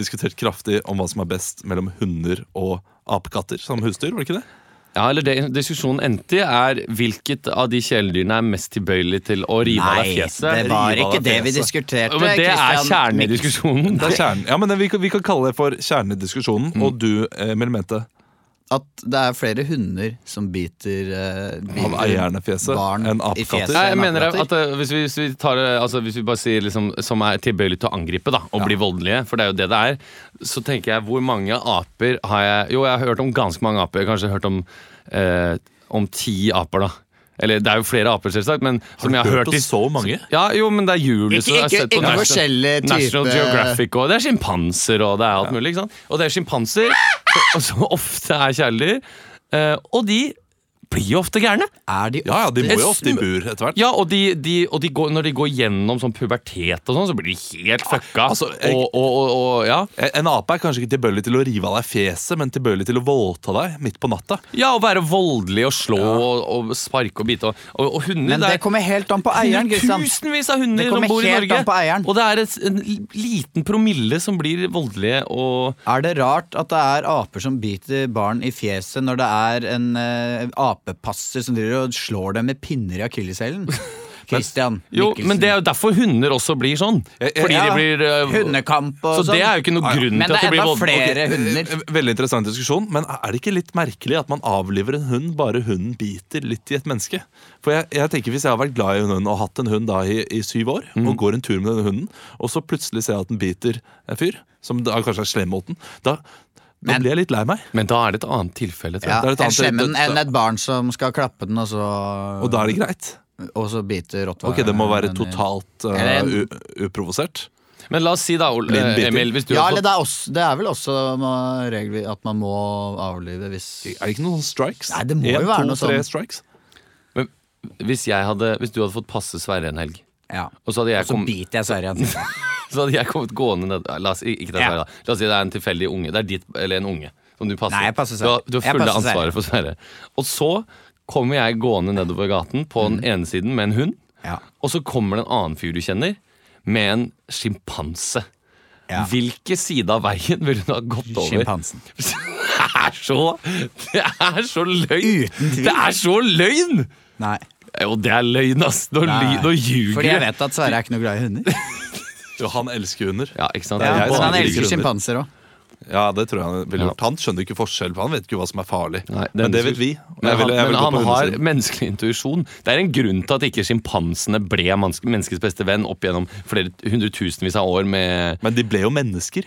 Speaker 1: diskutert kraftig om hva som er best mellom hunder og apekatter som husdyr, var det ikke det?
Speaker 3: Ja, eller det diskusjonen endte i, er hvilket av de kjæledyrene er mest tilbøyelig til å rive av deg fjeset.
Speaker 2: det var
Speaker 1: rive av
Speaker 2: ikke
Speaker 1: deg
Speaker 2: det vi
Speaker 1: fjeset.
Speaker 2: diskuterte.
Speaker 3: Ja, men det er
Speaker 2: Christian.
Speaker 3: kjernen i diskusjonen.
Speaker 1: Det er kjernen. Ja, men det, vi, kan- vi kan kalle det for kjernen i diskusjonen. Og du, eh, Emil, mente
Speaker 2: At det er flere hunder som biter, eh,
Speaker 1: av
Speaker 2: biter
Speaker 1: eierne fjeset
Speaker 2: Barn
Speaker 1: enn
Speaker 2: i
Speaker 1: apekatter.
Speaker 2: fjeset.
Speaker 3: [LAUGHS] Nei, jeg mener
Speaker 2: Apekatter.
Speaker 3: at eh, hvis vi, hvis vi, tar, eh, altså, hvis vi bare sier liksom, som er tilbøyelig til å angripe da, og bli voldelige, for det er jo det det er, så tenker jeg hvor mange aper har jeg Jo, jeg har hørt om ganske mange aper. Jeg har kanskje hørt om, eh, om ti aper, da. Eller det er jo flere aper, selvsagt, men som jeg har hørt i
Speaker 1: så mange?
Speaker 3: ja, jo, men det er jul.
Speaker 2: Ikke-
Speaker 3: så jeg har
Speaker 2: ikke-
Speaker 3: sett på
Speaker 2: ikke
Speaker 3: National-
Speaker 2: forskjellige
Speaker 3: National
Speaker 2: type-
Speaker 3: Geographic og det er sjimpanser og det er alt mulig. ikke sant? Og det er sjimpanser [LAUGHS] som- som ofte er kjæledyr, eh, og de blir jo ofte gærne.
Speaker 2: Er de
Speaker 1: Ja, ja, de må
Speaker 3: Et
Speaker 1: jo ofte i
Speaker 3: sm-
Speaker 1: bur etter hvert.
Speaker 3: Ja, og, de, de, og de går, når de går gjennom sånn pubertet og sånn, så blir de helt fucka.
Speaker 1: altså, jeg-
Speaker 3: og, og, og, og ja.
Speaker 1: En ape er kanskje ikke tilbøyelig til å rive av deg fjeset, men tilbøyelig til å voldta deg midt på natta.
Speaker 3: ja, å være voldelig og slå og, og sparke og bite. Og, og, og hunder
Speaker 2: Men
Speaker 3: det er-
Speaker 2: det kommer helt an på eieren, Kristian.
Speaker 3: Tusenvis av hunder
Speaker 2: Det
Speaker 3: som
Speaker 2: kommer
Speaker 3: bor i
Speaker 2: helt
Speaker 3: Norge.
Speaker 2: an på eieren.
Speaker 3: Og det er et, en liten promille som blir voldelige og
Speaker 2: Er det rart at det er aper som biter barn i fjeset når det er en eh, apepasser som driver og slår dem med pinner i akilleshælen? Christian
Speaker 3: Jo, men det er jo derfor hunder også blir sånn.
Speaker 1: Jeg- jeg-
Speaker 3: Fordi de blir eh,
Speaker 2: Hundekamp og
Speaker 3: Så det er jo ikke noe
Speaker 1: sånn. Ja, ja.
Speaker 3: grunn
Speaker 2: Men
Speaker 3: til
Speaker 2: det
Speaker 3: at
Speaker 2: er
Speaker 3: de blir
Speaker 2: enda
Speaker 3: voldelig.
Speaker 2: flere hunder.
Speaker 1: Eh, Veldig interessant diskusjon, men er det ikke litt merkelig at man avliver en hund bare hunden biter litt i et menneske? For jeg, jeg tenker Hvis jeg har vært glad i en hund og hatt en hund da i, i syv år,
Speaker 2: Mm.
Speaker 1: og går en tur med denne hunden, og så plutselig ser jeg at den biter en fyr, som da kanskje er slem mot den, da, da
Speaker 2: Men-
Speaker 1: blir jeg litt lei meg.
Speaker 3: Men da er det et annet tilfelle. Tror
Speaker 2: Ja,
Speaker 1: det
Speaker 3: jeg.
Speaker 1: er et
Speaker 2: en
Speaker 1: annet-
Speaker 2: slemmen
Speaker 1: det- det-
Speaker 2: enn et barn som skal klappe den, og så,
Speaker 1: Og da er det greit.
Speaker 2: og så biter rottweiler.
Speaker 1: Ok, Det må være
Speaker 2: den i-
Speaker 1: totalt eh,
Speaker 2: Eller en-
Speaker 1: u- uprovosert.
Speaker 3: Men la oss si da, Ol-
Speaker 1: Blind
Speaker 3: eh,
Speaker 1: biter.
Speaker 3: Emil, hvis du
Speaker 2: Ja,
Speaker 3: har
Speaker 2: eller
Speaker 3: fått
Speaker 2: det er, også, det er vel også ma- regler at man må avlive hvis
Speaker 1: Er det ikke noen strikes?
Speaker 2: Nei, det må
Speaker 1: En,
Speaker 2: jo være
Speaker 1: to,
Speaker 2: noe
Speaker 1: tre
Speaker 2: sånn.
Speaker 1: strikes?
Speaker 3: men, hvis, jeg hadde, hvis du hadde fått passe Sverre en helg,
Speaker 2: Ja.
Speaker 3: og så hadde jeg,
Speaker 2: Så
Speaker 3: kom,
Speaker 2: biter jeg Sverre altså. igjen.
Speaker 1: [LAUGHS]
Speaker 3: så hadde jeg kommet gående ned ja, la, oss, ikke det, er
Speaker 2: Ja.
Speaker 3: Sverre, da. la oss si det er en tilfeldig unge. Det er ditt, eller en unge som du passer.
Speaker 2: Nei, jeg passer
Speaker 3: du har,
Speaker 2: Sverre.
Speaker 3: du har
Speaker 2: Jeg
Speaker 3: fulle
Speaker 2: passer Sverre.
Speaker 3: ansvaret for Sverre. Og så kommer jeg gående nedover gaten på
Speaker 2: Mm.
Speaker 3: den ene siden med en hund,
Speaker 2: Ja.
Speaker 3: og så kommer det en annen fyr du kjenner, med en sjimpanse.
Speaker 2: Ja.
Speaker 3: Hvilke side av veien ville hun ha gått over?
Speaker 2: Sjimpansen.
Speaker 3: [LAUGHS] Det er så Det er så løgn!
Speaker 2: Uten tvil.
Speaker 3: Det er så løgn!
Speaker 2: Nei.
Speaker 3: Jo, det er løgn, ass. Nå, ly, nå ljuger
Speaker 2: Fordi jeg
Speaker 3: du.
Speaker 2: vet at Sverre er ikke noe glad i
Speaker 3: [LAUGHS]
Speaker 2: hunder.
Speaker 1: Jo, han elsker hunder.
Speaker 3: Ja, ikke sant?
Speaker 2: Ja,
Speaker 1: jeg
Speaker 3: Det er
Speaker 2: men
Speaker 1: som
Speaker 2: han
Speaker 1: liker
Speaker 2: elsker
Speaker 1: hunder.
Speaker 2: sjimpanser òg.
Speaker 1: Ja, det tror jeg Han ville
Speaker 3: Ja.
Speaker 1: gjort Han skjønner ikke forskjell, for han vet ikke hva som er farlig.
Speaker 3: Nei,
Speaker 1: men
Speaker 3: den
Speaker 1: det
Speaker 3: skulle-
Speaker 1: vet vi. Og
Speaker 3: Men
Speaker 1: jeg
Speaker 3: han,
Speaker 1: ville- jeg
Speaker 3: men
Speaker 1: ville gå
Speaker 3: han
Speaker 1: på
Speaker 3: har
Speaker 1: hundesiden.
Speaker 3: menneskelig intuisjon. Det er en grunn til at ikke sjimpansene ble mans- menneskets beste venn opp gjennom flere hundretusenvis av år med
Speaker 1: Men de ble jo mennesker.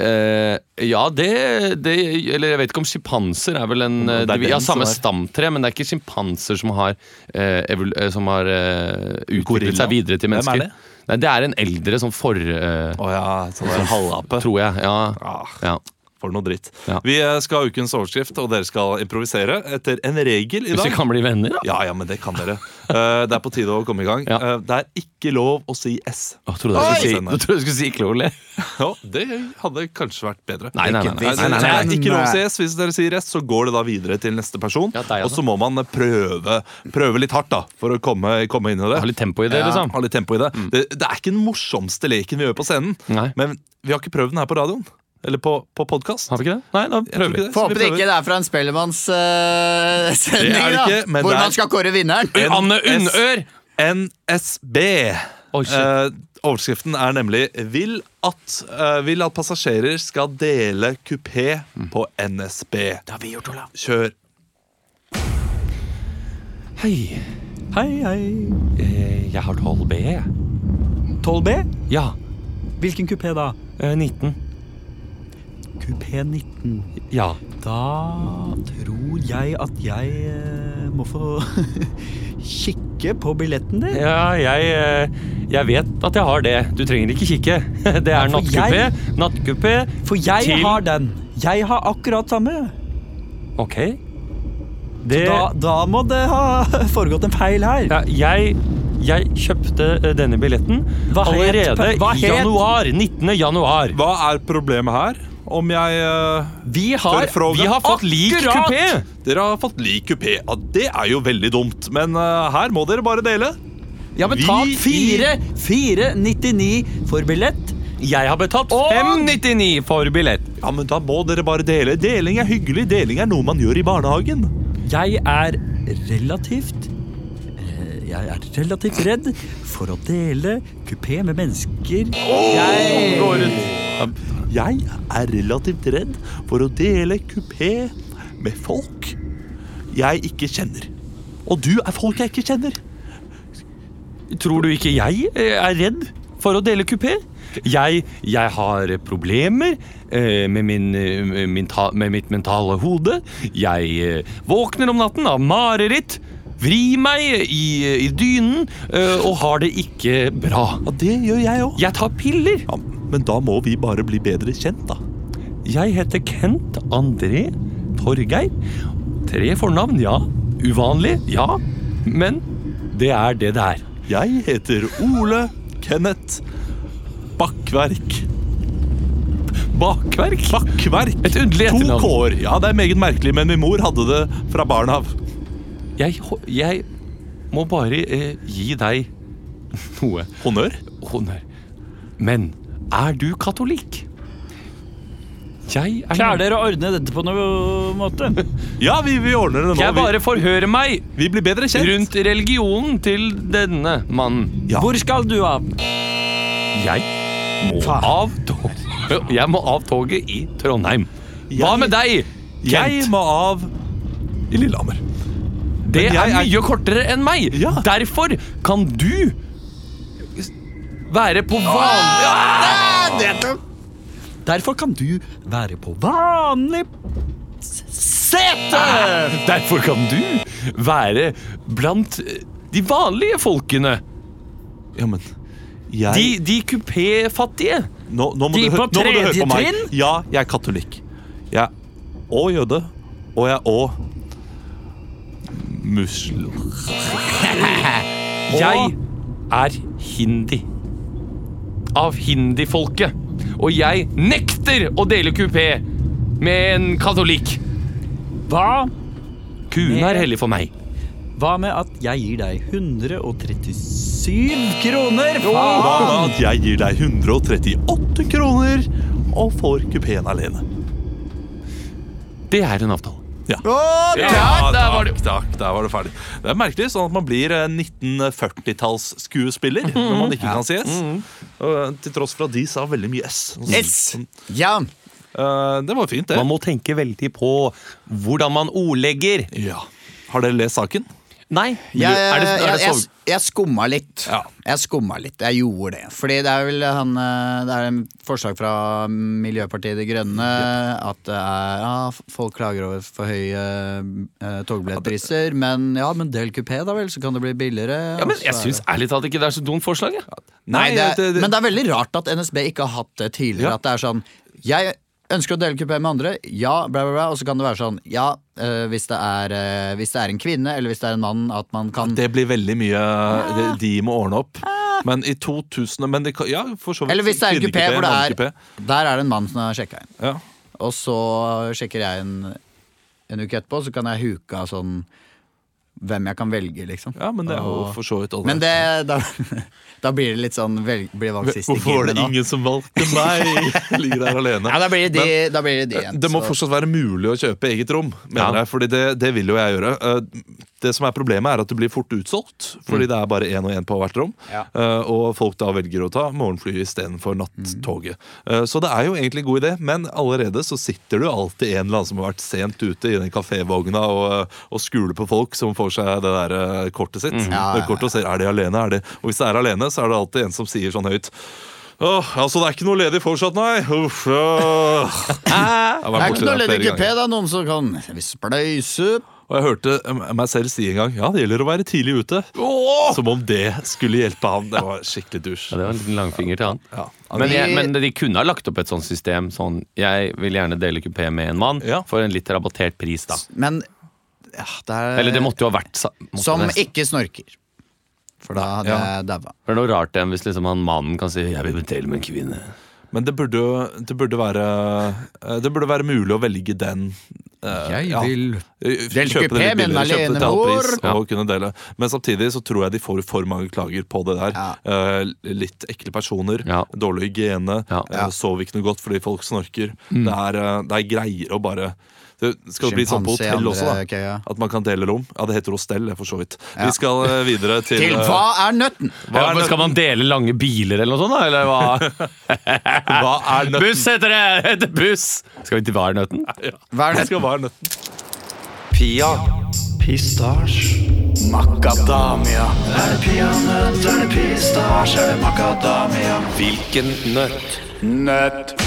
Speaker 3: eh, Ja, det, det Eller jeg vet ikke om sjimpanser er vel en eh,
Speaker 1: Mm, Det er
Speaker 3: Vi har
Speaker 1: den som
Speaker 3: samme
Speaker 1: er-
Speaker 3: stamtre, men det er ikke sjimpanser som har, eh, evol, eh, som har eh, utviklet
Speaker 1: Gorilla?
Speaker 3: seg videre til
Speaker 1: Hvem er
Speaker 3: mennesker.
Speaker 1: det?
Speaker 3: Nei, det er en eldre sånn for... eh,
Speaker 1: Å ja, sånn der halvape.
Speaker 3: tror jeg. Ja.
Speaker 1: Ah,
Speaker 3: ja.
Speaker 1: for noe dritt.
Speaker 3: Ja.
Speaker 1: Vi eh, skal ha ukens overskrift, og dere skal improvisere etter en regel i
Speaker 3: Hvis vi
Speaker 1: dag.
Speaker 3: kan bli venner, da.
Speaker 1: Ja, ja, men det kan dere. Eh, det er på tide å komme i gang.
Speaker 3: Ja.
Speaker 1: Eh, det er ikke lov å si S.
Speaker 3: Å, trodde jeg skulle si,
Speaker 1: Oi!
Speaker 3: nå trodde jeg skulle si ikke lov å le.
Speaker 1: Ja, det hadde kanskje vært bedre.
Speaker 3: Nei, nei, nei. nei,
Speaker 1: Nei,
Speaker 3: nei, nei, nei.
Speaker 1: Det er ikke lov å si S. Hvis dere sier S, så går det da videre til neste person.
Speaker 3: Ja, deg, altså.
Speaker 1: og så må man prøve, prøve litt hardt da, for å komme, komme inn i det.
Speaker 3: Ha litt tempo i det,
Speaker 1: Ja, Mm.
Speaker 3: liksom.
Speaker 1: ha litt tempo i det. det. Det er ikke den morsomste leken vi gjør på scenen,
Speaker 3: Nei.
Speaker 1: men vi har ikke prøvd den her på radioen. Eller på, på podkast.
Speaker 3: Har vi ikke det? Nei, da
Speaker 1: Jeg tror
Speaker 3: prøver vi.
Speaker 1: ikke det, så vi
Speaker 2: Håper det
Speaker 1: prøver.
Speaker 2: ikke det er fra en Spellemannssending,
Speaker 1: Det er det ikke,
Speaker 2: da!
Speaker 1: men
Speaker 2: Hvor
Speaker 1: det er-
Speaker 2: man skal kåre vinneren.
Speaker 1: Oi,
Speaker 3: Anne
Speaker 1: NS.
Speaker 3: Unnør!
Speaker 1: NSB.
Speaker 3: Oi, shit.
Speaker 1: Eh, overskriften er nemlig vil at, eh, 'Vil at passasjerer skal dele kupé på NSB'. Mm. Det har vi gjort, Olav. Kjør.
Speaker 3: Hei. Hei, hei. Jeg har 12B.
Speaker 4: 12B?
Speaker 3: Ja. Eh,
Speaker 4: Hvilken kupé da?
Speaker 3: 19.
Speaker 4: Kupé 19.
Speaker 3: Ja.
Speaker 4: Da tror jeg at jeg eh, må få [LAUGHS] kikke på billetten din.
Speaker 3: Ja, jeg eh, Jeg vet at jeg har det. Du trenger ikke kikke. [LAUGHS] Det er
Speaker 4: for
Speaker 3: nattkupé.
Speaker 4: jeg-
Speaker 3: Nattkupé.
Speaker 4: For jeg
Speaker 3: Til-
Speaker 4: har den. Jeg har akkurat samme.
Speaker 3: Ok. Det
Speaker 4: Da, da må det ha [LAUGHS] foregått en feil her.
Speaker 3: ja, Jeg jeg kjøpte eh, denne billetten
Speaker 4: Hva het-
Speaker 3: allerede
Speaker 4: hva
Speaker 3: i
Speaker 4: het-
Speaker 3: januar. 19. januar.
Speaker 1: Hva er problemet her? om jeg eh,
Speaker 3: Vi har,
Speaker 1: Tørrfråga.
Speaker 3: vi har fått lik
Speaker 1: Akkurat!
Speaker 3: kupé!
Speaker 1: Dere har fått lik kupé. Ja, det er jo veldig dumt, men eh, her må dere bare dele.
Speaker 4: Jeg har
Speaker 1: Vi-
Speaker 4: betalt 4 4,99 for billett.
Speaker 3: Jeg har betalt 599 for billett.
Speaker 1: Ja, men Da må dere bare dele. Deling er hyggelig. Deling er noe man gjør i barnehagen.
Speaker 4: Jeg er relativt eh, jeg er relativt redd for å dele kupé med mennesker. Jeg
Speaker 3: Går ut.
Speaker 1: Jeg er relativt redd for å dele kupé med folk jeg ikke kjenner. Og du er folk jeg ikke kjenner.
Speaker 3: Tror du ikke jeg eh, er redd for å dele kupé? Jeg, jeg har problemer eh, med, min, eh, med min ta, med mitt mentale hode. Jeg eh, våkner om natten av mareritt, vrir meg i, i dynen eh, og har det ikke bra.
Speaker 1: Ja, Det gjør jeg òg.
Speaker 3: Jeg tar piller.
Speaker 1: Ja, men da må vi bare bli bedre kjent, da.
Speaker 3: Jeg heter Kent André Torgeir. Tre fornavn, ja. Uvanlig, ja. Men det er det det er.
Speaker 1: Jeg heter Ole Kenneth Bakkverk.
Speaker 3: Bakverk.
Speaker 1: Bakkverk.
Speaker 3: Et underlig
Speaker 1: To
Speaker 3: etternavn.
Speaker 1: k-er. Ja, det er meget merkelig, men min mor hadde det fra barn av.
Speaker 3: Jeg, hå- jeg må bare eh, gi deg noe
Speaker 1: Honnør?
Speaker 3: honnør. Men er du katolikk? Jeg er
Speaker 4: Klarer dere å ordne dette på noen måte?
Speaker 1: Ja, vi, vi ordner det nå.
Speaker 3: Jeg bare forhører meg
Speaker 1: vi, vi blir bedre kjent.
Speaker 3: rundt religionen til denne mannen.
Speaker 1: Ja.
Speaker 4: Hvor skal du av?
Speaker 3: Jeg må av toget Jeg må av toget i Trondheim. Hva
Speaker 1: Jeg-
Speaker 3: med deg,
Speaker 1: Jeg
Speaker 3: Kent?
Speaker 1: må av i Lillehammer.
Speaker 3: Det
Speaker 1: Men
Speaker 3: er
Speaker 1: jeg er-
Speaker 3: mye kortere enn meg.
Speaker 1: Ja.
Speaker 3: Derfor kan du være på vanlig
Speaker 1: Ah!
Speaker 4: Derfor kan du være på vanlig
Speaker 3: Derfor kan du være blant de vanlige folkene.
Speaker 1: Ja, men jeg
Speaker 3: De, de kupéfattige.
Speaker 1: Nå, nå, må
Speaker 4: de
Speaker 1: du, hø-
Speaker 4: på
Speaker 1: nå må du høre
Speaker 4: tredje
Speaker 1: på meg.
Speaker 4: trinn?
Speaker 1: Ja, jeg er katolikk. Jeg er òg jøde. Og jeg er òg muslim.
Speaker 3: Jeg er hindi. Av hindifolket. Og jeg nekter å dele kupé med en katolikk.
Speaker 4: Hva?
Speaker 3: Kuen er hellig for meg.
Speaker 4: Hva med at jeg gir deg 137 kroner?
Speaker 1: Hva
Speaker 4: Faen!
Speaker 1: med at jeg gir deg 138 kroner og får kupeen alene?
Speaker 3: Det er en avtale.
Speaker 1: Ja,
Speaker 3: der var
Speaker 1: takk, takk, der var det ferdig. Det er merkelig sånn at man blir eh,
Speaker 2: Mhm.
Speaker 1: 1940-tallsskuespiller når man ikke kan si S. Og, eh, Til tross for at de sa veldig mye S. sånn,
Speaker 2: S. Ja.
Speaker 1: Eh, Det var fint, det.
Speaker 3: Man må tenke veldig på hvordan man ordlegger.
Speaker 1: Ja. Har dere lest saken?
Speaker 3: Nei.
Speaker 2: Jeg,
Speaker 3: er det, er
Speaker 2: jeg,
Speaker 3: det
Speaker 2: jeg,
Speaker 3: sov-
Speaker 2: jeg skumma litt.
Speaker 1: Ja.
Speaker 2: Jeg skumma litt, jeg gjorde det. Fordi det er vel han eh, Det er en forslag fra Miljøpartiet De Grønne at det er Ja, folk klager over for høye eh, togbillettpriser, men ja, men del kupé, da vel, så kan det bli billigere.
Speaker 3: ja, men
Speaker 2: og så
Speaker 3: jeg
Speaker 2: er
Speaker 3: syns ærlig talt ikke det er så dumt forslag. Jeg.
Speaker 2: Nei, det er, Men det er veldig rart at NSB ikke har hatt det tidligere.
Speaker 1: Ja.
Speaker 2: At det er sånn Jeg ønsker å dele kupé med andre, ja, bla, bla, bla. Og så kan det være sånn, ja, eh, hvis, det er, eh, hvis det er en kvinne eller hvis det er en mann, at man kan
Speaker 1: Det blir veldig mye De, de må ordne opp. Men i 2000 men de, kan- ja, for så vidt,
Speaker 2: Ah. Eller hvis det er en kupé
Speaker 1: kvinnekupé,
Speaker 2: hvor det
Speaker 1: mannekupé.
Speaker 2: er Der er det en mann som har sjekka inn.
Speaker 1: ja.
Speaker 2: Og så sjekker jeg en, en uke etterpå, så kan jeg huke av sånn hvem jeg kan velge, liksom.
Speaker 1: ja, men det er jo
Speaker 2: Og-
Speaker 1: for så vidt all
Speaker 2: Men
Speaker 1: right.
Speaker 2: det da, [LAUGHS] da blir det litt sånn velg, blir valgt sist i
Speaker 1: Hvorfor var det
Speaker 2: gamet, da.
Speaker 1: ingen som valgte
Speaker 2: [LAUGHS]
Speaker 1: meg? Jeg Ligger der alene. eh,
Speaker 2: Ja, da blir det de, da blir det de igjen.
Speaker 1: Det må
Speaker 2: så-
Speaker 1: fortsatt være mulig å kjøpe eget rom, mener
Speaker 3: Ja.
Speaker 1: jeg. Fordi det, det vil jo jeg gjøre. Eh, Det som er problemet, er at det blir fort utsolgt. Fordi det er bare én og én på hvert rom.
Speaker 2: Mm. Ja.
Speaker 1: Eh, Og folk da velger å ta morgenflyet istedenfor nattoget. Eh, Så det er jo egentlig en god idé, men allerede så sitter du alltid en eller annen som har vært sent ute i den kafévogna og, eh, og skuler på folk som får seg det der eh, kortet sitt.
Speaker 2: Mm. Ja, ja, ja.
Speaker 1: Det kortet og ser, er de alene? Er de? Og hvis det er alene, så er det alltid en som sier sånn høyt Åh, altså det er ikke noe ledig fortsatt, nei.
Speaker 2: [LAUGHS]
Speaker 1: Uff, øh. Jeg har
Speaker 2: Det
Speaker 1: vært
Speaker 2: er
Speaker 1: borti
Speaker 2: ikke noe
Speaker 1: det
Speaker 2: ledig
Speaker 1: flere
Speaker 2: kupé,
Speaker 1: ganger.
Speaker 2: da. Noen som kan vi spleise ut.
Speaker 1: Og jeg hørte eh, meg selv si en gang Ja, det gjelder å være tidlig ute. Som om det skulle hjelpe han. Det var skikkelig
Speaker 3: Ja,
Speaker 1: dusj.
Speaker 3: det var en liten langfinger til han.
Speaker 1: Ja.
Speaker 3: Men, jeg,
Speaker 2: Vi-
Speaker 3: men de kunne ha lagt opp et sånt system. Sånn, jeg vil gjerne dele kupé med en mann
Speaker 1: Ja.
Speaker 3: for en litt rabattert pris, da.
Speaker 2: Men ja, det er
Speaker 3: Eller det måtte jo ha vært sa- måtte
Speaker 2: eh, Som
Speaker 3: nesten-
Speaker 2: ikke snorker. For da hadde
Speaker 1: Ja.
Speaker 2: jeg daua.
Speaker 3: For Det er noe rart igjen hvis liksom han mannen kan si 'jeg vil dele med en kvinne'.
Speaker 1: Men det burde, jo- det burde være eh, Det burde være mulig å velge den. eh,
Speaker 2: Jeg
Speaker 1: ja. Eh,
Speaker 2: vil
Speaker 1: Dele
Speaker 2: Kjøpe det litt billigere, kjøpe det til halv pris
Speaker 1: og kunne dele. Men samtidig så tror jeg de får for mange klager på det der.
Speaker 2: Ja.
Speaker 1: Eh, litt ekle personer,
Speaker 3: Ja.
Speaker 1: dårlig hygiene,
Speaker 3: Ja.
Speaker 1: eh, sov ikke noe godt fordi folk snorker.
Speaker 2: Mm.
Speaker 1: Det, er, eh, det er greier å bare det skal det bli sånn på
Speaker 2: Sjimpanse i
Speaker 1: hotell også, da?
Speaker 2: andre køya.
Speaker 1: At man kan dele rom? Ja, det heter hostell, for så vidt.
Speaker 2: Ja.
Speaker 1: Vi skal eh, videre til
Speaker 2: Til
Speaker 1: eh,
Speaker 2: hva er nøtten?
Speaker 1: Hva er
Speaker 3: Ja, men skal man dele lange biler eller noe sånt, da? Eller hva?
Speaker 1: Hva er nøtten?
Speaker 3: Buss heter det! Det heter buss! Skal vi til hva er nøtten?
Speaker 1: Ja.
Speaker 2: Hva er
Speaker 1: Jeg
Speaker 2: nøtten?
Speaker 1: skal være nøtten.
Speaker 5: Pia. Pistasj. Makadamia. Er det peanøtt, er det pistasj, er det makadamia? Hvilken nøtt? Nøtt.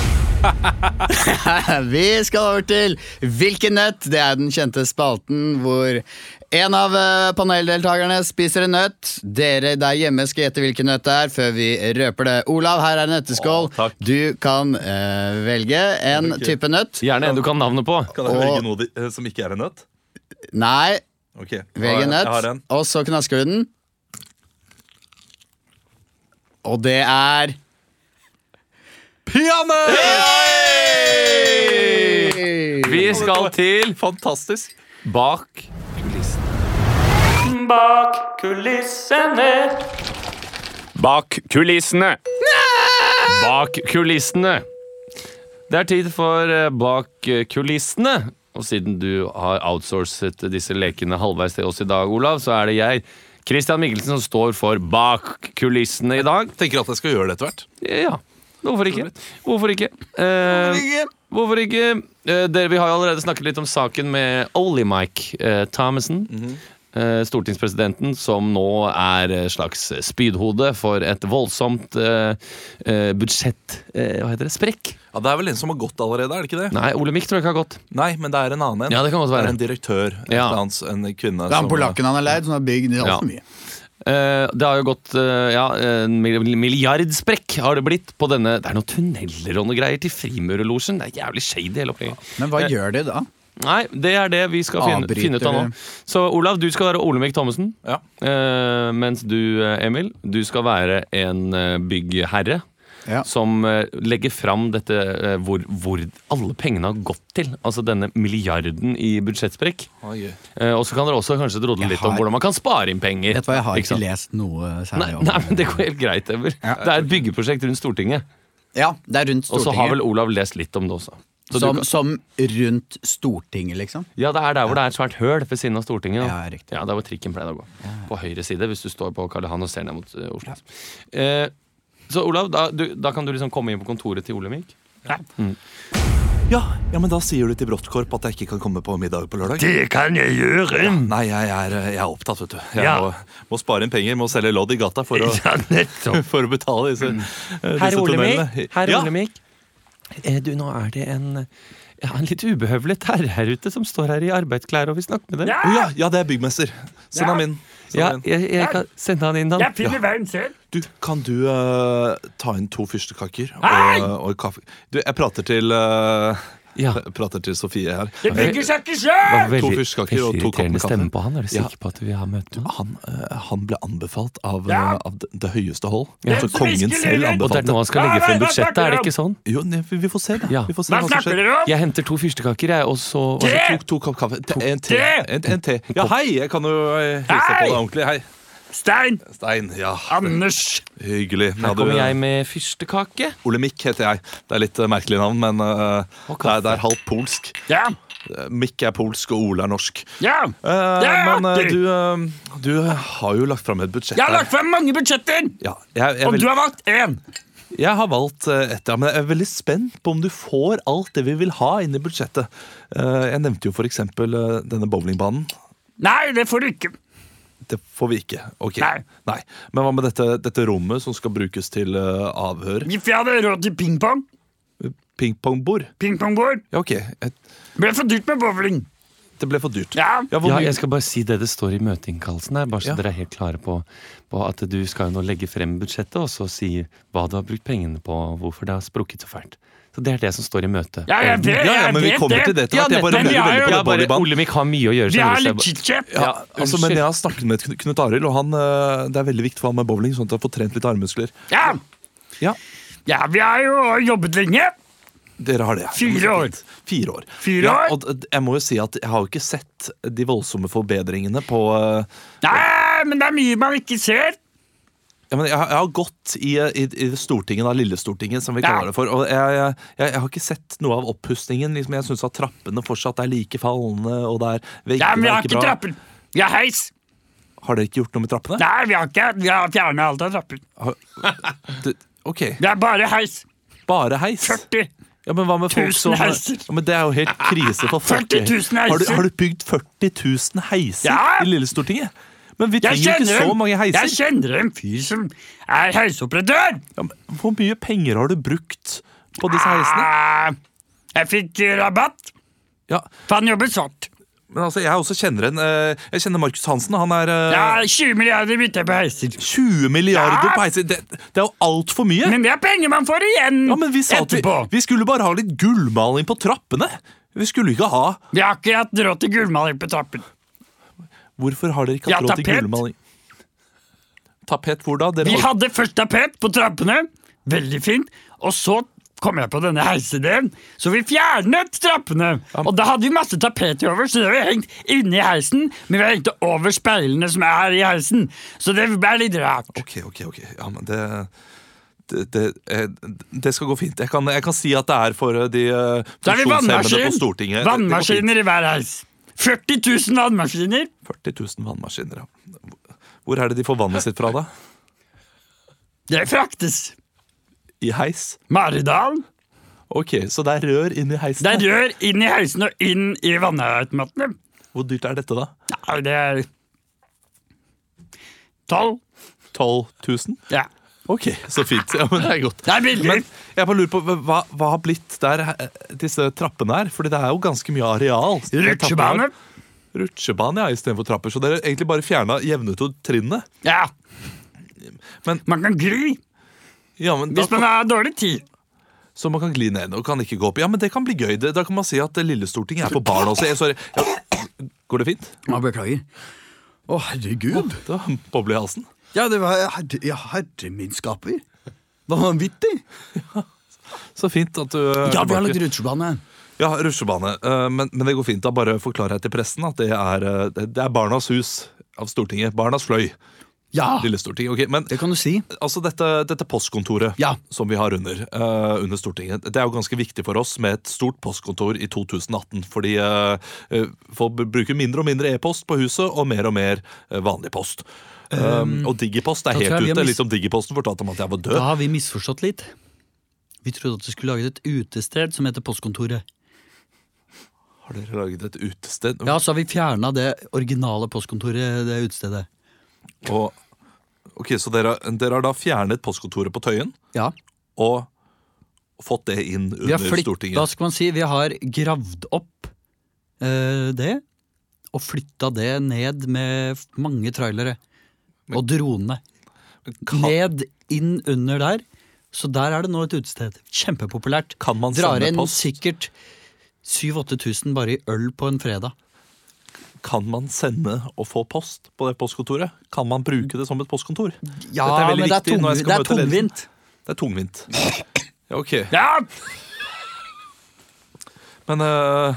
Speaker 2: [LAUGHS] Vi skal over til Hvilken nøtt? Det er den kjente spalten hvor en av eh, paneldeltakerne spiser en nøtt. Dere der hjemme skal gjette hvilken nøtt det er før vi røper det. Olav, her er en nøtteskål.
Speaker 1: Å, takk.
Speaker 2: du kan eh, velge en
Speaker 1: Ok.
Speaker 2: type nøtt.
Speaker 3: Gjerne en du kan navnet på.
Speaker 1: Kan jeg
Speaker 2: Og-
Speaker 1: velge noe de, eh, som ikke er en nøtt?
Speaker 2: Nei,
Speaker 1: Ok.
Speaker 2: velg en
Speaker 1: Jeg har
Speaker 2: nøtt.
Speaker 1: en.
Speaker 2: Og så knasker du den. Og det er
Speaker 1: Pianøtt!
Speaker 3: Vi skal til
Speaker 1: Fantastisk.
Speaker 3: bak
Speaker 6: Bak kulissene.
Speaker 3: Bak kulissene! Bak kulissene! Det er tid for eh, Bak eh, kulissene. Og siden du har outsourcet disse lekene halvveis til oss i dag, Olav, så er det jeg, Christian Mikkelsen, som står for Bak kulissene i dag.
Speaker 1: Tenker at jeg skal gjøre det etter hvert.
Speaker 3: Ja, hvorfor ikke? Hvorfor ikke? Eh, hvorfor ikke? Eh, dere, vi har jo allerede snakket litt om saken med Ollie Mike eh, Thomassen. eh, stortingspresidenten som nå er eh, slags spydhode for et voldsomt eh, eh, budsjett... Eh, hva heter det? Sprekk?
Speaker 1: Ja, Det er vel en som har gått allerede, er det ikke det?
Speaker 3: Nei, Olemic tror jeg ikke har gått.
Speaker 1: Nei, men det er en annen en.
Speaker 3: Ja, det kan godt være.
Speaker 1: er en direktør, en,
Speaker 3: Ja.
Speaker 1: eller annen- en kvinne
Speaker 2: Det er han
Speaker 1: som-
Speaker 2: polakken han har leid, som har bygd
Speaker 3: Ja.
Speaker 2: altfor mye.
Speaker 3: Eh, det har jo gått eh, ja, en mil- milliardsprekk har det blitt på denne Det er noen tunneler og noe greier til Frimurelosjen. Det er jævlig shady hele opplegget.
Speaker 2: Men
Speaker 1: Eh.
Speaker 2: hva gjør de da?
Speaker 3: Nei, det er det vi skal finne,
Speaker 2: Avbryter
Speaker 3: finne ut av nå.
Speaker 2: det.
Speaker 3: Så Olav, du skal være Olemic Thommessen.
Speaker 1: Ja.
Speaker 3: eh, mens du, eh, Emil, du skal være en eh, byggherre.
Speaker 2: Ja.
Speaker 3: Som eh, legger fram dette eh, hvor, hvor alle pengene har gått til. Altså denne milliarden i budsjettsprekk.
Speaker 1: Å, gøy.
Speaker 3: Eh, og så kan dere også kanskje drodle
Speaker 2: Jeg
Speaker 3: litt om
Speaker 2: har-
Speaker 3: hvordan man kan spare inn penger.
Speaker 2: Vet du hva, Jeg har
Speaker 3: Ikke
Speaker 2: ikke
Speaker 3: sant?
Speaker 2: lest noe
Speaker 3: Nei,
Speaker 2: særlig om
Speaker 3: nei, men Det går helt greit, Emil.
Speaker 2: Ja.
Speaker 3: Det er et byggeprosjekt rundt Stortinget.
Speaker 2: Ja, det er rundt
Speaker 3: Og så har
Speaker 2: Stortinget.
Speaker 3: vel Olav lest litt om det også. Så du
Speaker 2: Som,
Speaker 3: kan-
Speaker 2: som rundt Stortinget, liksom.
Speaker 3: Ja, det er der hvor det er et svært høl ved siden av Stortinget. da.
Speaker 2: Ja, riktig.
Speaker 3: Ja, der hvor trikken pleide å gå. På høyre side, hvis du står på Karl Johan og ser ned mot eh, Oslo. Eh, så Olav, da, du, da kan du liksom komme inn på kontoret til Olemic.
Speaker 1: Ja, ja, men da sier du til Bråttkorp at jeg ikke kan komme på middag på lørdag.
Speaker 6: Det kan jeg gjøre.
Speaker 1: Nei, jeg er, jeg er opptatt, vet du. Jeg
Speaker 6: Ja.
Speaker 1: må, må spare inn penger, må selge lodd i gata for å,
Speaker 6: Ja, nettopp.
Speaker 1: [LAUGHS] for å betale disse, disse
Speaker 3: Herr
Speaker 1: tunnelene.
Speaker 3: Olemic, herr
Speaker 1: ja.
Speaker 3: Olemic. Eh, du, nå er det en, ja, en litt ubehøvlet herre her ute som står her i arbeidsklær og vil snakke med deg.
Speaker 1: Å ja, ja, det er byggmester. Send
Speaker 6: Ja.
Speaker 1: ham inn. Send
Speaker 3: Ja,
Speaker 1: ham inn.
Speaker 3: jeg, jeg kan sende han inn,
Speaker 6: Jeg
Speaker 3: han.
Speaker 6: finner veien selv.
Speaker 1: Du, kan du eh, ta inn to fyrstekaker
Speaker 6: Nei!
Speaker 1: og, og kaffe? Du, jeg prater til, eh, [LAUGHS]
Speaker 3: Ja.
Speaker 1: jeg prater til Sofie her. Eh,
Speaker 6: Det bygger seg ikke
Speaker 3: Det
Speaker 6: sjøl!
Speaker 3: var veldig
Speaker 1: To fyrstekaker og to kopper
Speaker 3: irriterende
Speaker 1: kaffe.
Speaker 3: stemme på han. Er du
Speaker 1: Ja.
Speaker 3: sikker på at du vil ha møte med han?
Speaker 1: Han, eh, han ble anbefalt av, eh,
Speaker 6: Ja.
Speaker 1: av det, det høyeste hold.
Speaker 3: Ja.
Speaker 1: Altså,
Speaker 6: Hvem som
Speaker 1: kongen
Speaker 6: hvisker
Speaker 1: selv
Speaker 3: Og
Speaker 6: lyder?
Speaker 3: det er
Speaker 1: anbefalte.
Speaker 3: nå han skal legge frem budsjettet, er det ikke sånn?
Speaker 1: Jo, nei, vi, vi får se, da.
Speaker 3: Ja.
Speaker 1: Vi får se
Speaker 6: Hva
Speaker 1: som
Speaker 6: snakker
Speaker 1: skjer.
Speaker 6: dere om?
Speaker 3: Jeg henter to fyrstekaker, jeg, og så
Speaker 6: Tre!
Speaker 1: Tok to kopp kaffe. Te, en te.
Speaker 6: Te!
Speaker 1: En, en te. Ja, hei! Jeg kan jo eh, hilse på
Speaker 6: Hei!
Speaker 1: deg ordentlig. Hei.
Speaker 6: Stein.
Speaker 1: Stein. Ja,
Speaker 6: Anders.
Speaker 1: hyggelig.
Speaker 3: Her
Speaker 1: Ja, du,
Speaker 3: kommer jeg med fyrstekake.
Speaker 1: Olemik heter jeg. Det er litt eh, merkelig navn, men eh, det,
Speaker 3: Og kaffe.
Speaker 1: er, det er halvt polsk.
Speaker 6: Ja.
Speaker 1: Eh, Mikk er polsk, og Ole er norsk.
Speaker 6: Ja.
Speaker 1: Eh,
Speaker 6: Ja,
Speaker 1: men eh,
Speaker 6: du-
Speaker 1: du, eh, du har jo lagt fram et budsjett.
Speaker 6: Jeg har
Speaker 1: her.
Speaker 6: lagt frem mange budsjetter,
Speaker 1: ja, jeg, jeg, er
Speaker 6: og
Speaker 1: veldig-
Speaker 6: du har valgt én.
Speaker 1: Jeg har valgt eh, ett, ja, men jeg er veldig spent på om du får alt det vi vil ha inn i budsjettet. Eh, Jeg nevnte jo for eksempel eh, denne bowlingbanen.
Speaker 6: Nei, det får du ikke.
Speaker 1: Det får vi ikke. Ok.
Speaker 6: Nei.
Speaker 1: Men hva med dette, dette rommet som skal brukes til eh, avhør?
Speaker 6: Hvis jeg hadde råd til pingpong,
Speaker 1: Pingpongbord?
Speaker 6: pingpongbord,
Speaker 1: Ja, ok. Et-
Speaker 6: ble for dyrt med bowling.
Speaker 1: Det ble for dyrt.
Speaker 6: Ja.
Speaker 1: Ja, hvor
Speaker 3: Ja,
Speaker 1: mye-
Speaker 3: jeg skal bare si det det står i møteinnkallelsen her, bare
Speaker 1: Ja.
Speaker 3: så dere er helt klare på, på at du skal jo nå legge frem budsjettet, og så si hva du har brukt pengene på, og hvorfor det har sprukket så fælt. Så det er det som står i møtet.
Speaker 6: Ja, jeg vet,
Speaker 1: ja, ja, men vi
Speaker 6: jeg
Speaker 1: kommer
Speaker 6: vet
Speaker 1: til det etter
Speaker 3: Ja,
Speaker 1: hvert. Jeg bare lurer
Speaker 6: nettopp. Men jeg er
Speaker 1: veldig
Speaker 6: jo-
Speaker 1: på det
Speaker 3: Jeg bare,
Speaker 1: bodybanen.
Speaker 3: Olemic har mye å gjøre. så
Speaker 6: Vi er
Speaker 3: jeg
Speaker 6: litt
Speaker 3: bare-
Speaker 6: chit-chat.
Speaker 1: Ja, altså, men
Speaker 3: unnskyld.
Speaker 1: jeg har snakket med Knut- Knut Arild, og han, eh, det er veldig viktig for han med bowling, sånn at han får trent litt armmuskler.
Speaker 6: Ja.
Speaker 1: Ja.
Speaker 6: Ja, vi har jo jobbet lenge.
Speaker 1: Dere har det.
Speaker 6: Fire år.
Speaker 1: Fire år.
Speaker 6: Fire
Speaker 1: ja,
Speaker 6: år?
Speaker 1: og d- jeg må jo si at jeg har jo ikke sett de voldsomme forbedringene på eh,
Speaker 6: Nei, men det er mye man ikke ser.
Speaker 1: ja, men jeg, har- jeg har gått i, i, i Stortinget, da, Lillestortinget, som vi kaller det for. Og jeg, jeg, jeg har ikke sett noe av opphustningen. Liksom, jeg syns at trappene fortsatt er like fallende, og det er veggene
Speaker 6: Ja, men vi
Speaker 1: er
Speaker 6: har ikke
Speaker 1: bra.
Speaker 6: trappen. Vi har heis.
Speaker 1: Har dere ikke gjort noe med trappene?
Speaker 6: Nei, vi har ikke. Vi har fjernet alt av trappen.
Speaker 1: Du- Ok,
Speaker 6: Det er bare heis.
Speaker 1: bare heis.
Speaker 6: 40.
Speaker 1: Ja, men hva med folk
Speaker 6: Tusen
Speaker 1: som
Speaker 6: heiser.
Speaker 1: ja, men Det er jo helt krise
Speaker 6: [LAUGHS]
Speaker 1: for folk.
Speaker 6: 40 000 heiser.
Speaker 1: Har du, har du bygd 40 000 heiser
Speaker 6: Ja.
Speaker 1: i Lillestortinget? Men vi
Speaker 6: Jeg
Speaker 1: trenger jo ikke
Speaker 6: kjenner,
Speaker 1: så
Speaker 6: en,
Speaker 1: mange
Speaker 6: jeg
Speaker 1: heiser.
Speaker 6: kjenner en fyr som er heisoperatør.
Speaker 1: Ja, men hvor mye penger har du brukt på disse heisene?
Speaker 6: Ah, Jeg fikk eh, rabatt,
Speaker 1: Ja,
Speaker 6: for han jobber svart.
Speaker 1: men altså, Jeg også kjenner en eh, Jeg kjenner Markus Hansen. Han er eh,
Speaker 6: Ja, 20 milliarder bytter jeg på heiser.
Speaker 1: 20 milliarder
Speaker 6: Ja.
Speaker 1: på heiser. Det, det er jo altfor mye.
Speaker 6: Men det er penger man får igjen
Speaker 1: ja, men vi sa at vi,
Speaker 6: etterpå.
Speaker 1: vi skulle bare ha litt gullmaling på trappene. Vi skulle ikke ha
Speaker 6: Vi har ikke hatt råd til gullmaling på trappen.
Speaker 1: Hvorfor har dere ikke hatt
Speaker 6: Ja,
Speaker 1: råd til
Speaker 6: tapet.
Speaker 1: gullmaling? Tapet hvor da? Dere
Speaker 6: Vi
Speaker 1: har-
Speaker 6: hadde først tapet på trappene, veldig fint, og så kom jeg på denne heisideen, så vi fjernet trappene. Og da hadde vi masse tapet over, så det har vi hengt inni heisen, men vi har hengt det over speilene som er i heisen, så det ble litt rart.
Speaker 1: Ok, ok, ok. Ja, men det det, det, eh, det skal gå fint. Jeg kan, jeg kan si at det er for eh, de eh,
Speaker 6: Da er vi
Speaker 1: funksjonshemmede på
Speaker 6: vannmaskin.
Speaker 1: Stortinget. Det- det går fint.
Speaker 6: Vannmaskiner i hver heis. 40 000 vannmaskiner.
Speaker 1: 40 000 vannmaskiner, ja. Hvor er det de får vannet sitt fra, da?
Speaker 6: Det fraktes.
Speaker 1: I heis?
Speaker 6: Maridalen.
Speaker 1: Ok, så det er rør inn i heisen.
Speaker 6: Det er rør inn i heisen og inn i vannautomatene.
Speaker 1: Hvor dyrt er dette, da?
Speaker 6: Ja, det er Tolv.
Speaker 1: 12 000?
Speaker 6: Ja.
Speaker 1: Ok, så fint. Ja, men det er godt.
Speaker 6: Det er billig.
Speaker 1: Men jeg bare lurer på, hva, hva har blitt der eh, disse trappene er? Fordi det er jo ganske mye areal.
Speaker 6: Rutsjebane.
Speaker 1: Rutsjebane, ja, istedenfor trapper. Så dere egentlig bare fjerna jevnet ut trinnene.
Speaker 6: Ja.
Speaker 1: Men-
Speaker 6: man kan gli
Speaker 1: Ja, men da
Speaker 6: hvis man har dårlig tid.
Speaker 1: Så man kan gli ned og kan ikke gå opp. Ja, men det kan bli gøy. Det- Da kan man si at Lillestortinget er for barn også. Jeg, sorry. Ja. Går det fint?
Speaker 2: Ja, beklager. Å, herregud.
Speaker 1: Det var en boble i halsen.
Speaker 2: Ja, det var herre, ja, herre min skaper. Det var vanvittig.
Speaker 1: Så fint at du er
Speaker 2: Ja, vi har
Speaker 1: tilbake.
Speaker 2: lagd rutsjebane.
Speaker 1: Ja, rutsjebane. Eh, Men, men det går fint. Da bare forklarer jeg til pressen at det er, eh, det det er Barnas hus av Stortinget. Barnas fløy.
Speaker 2: Ja,
Speaker 1: Lillestortinget. Ok, men
Speaker 2: det kan du si.
Speaker 1: altså dette, dette postkontoret
Speaker 2: Ja.
Speaker 1: som vi har under, eh, under Stortinget, det er jo ganske viktig for oss med et stort postkontor i 2018. Fordi eh, eh, folk b- bruker mindre og mindre e-post på huset, og mer og mer eh, vanlig post. Um, og Digipost er
Speaker 2: da tror jeg
Speaker 1: helt
Speaker 2: vi har
Speaker 1: ute.
Speaker 2: mis-
Speaker 1: Litt som Digiposten fortalte om at jeg var død.
Speaker 2: Da har vi misforstått litt. Vi trodde at du skulle laget et utested som heter Postkontoret.
Speaker 1: Har dere laget et utested?
Speaker 2: Ja, så har vi fjerna det originale postkontoret, det utestedet.
Speaker 1: Og, ok, Så dere, dere har da fjernet postkontoret på Tøyen
Speaker 2: Ja.
Speaker 1: og fått det inn
Speaker 2: Vi har
Speaker 1: under
Speaker 2: flytt, hva
Speaker 1: Stortinget?
Speaker 2: skal man si, vi har gravd opp eh, det, og flytta det ned med f- mange trailere. Og drone.
Speaker 1: Kan,
Speaker 2: Ned, inn under der. Så der er det nå et utested. Kjempepopulært.
Speaker 1: Kan man
Speaker 2: Drar
Speaker 1: sende
Speaker 2: inn
Speaker 1: post?
Speaker 2: sikkert 7000-8000 bare i øl på en fredag.
Speaker 1: kan man sende og få post på det postkontoret? Kan man bruke det som et postkontor?
Speaker 2: Ja,
Speaker 1: Dette er
Speaker 2: men
Speaker 1: veldig
Speaker 2: det er,
Speaker 1: viktig
Speaker 2: tung,
Speaker 1: når jeg skal
Speaker 2: det er
Speaker 1: møte ledelsen.
Speaker 2: tungvint.
Speaker 1: Det er tungvint. Ja, ok.
Speaker 6: Ja,
Speaker 1: Men, eh,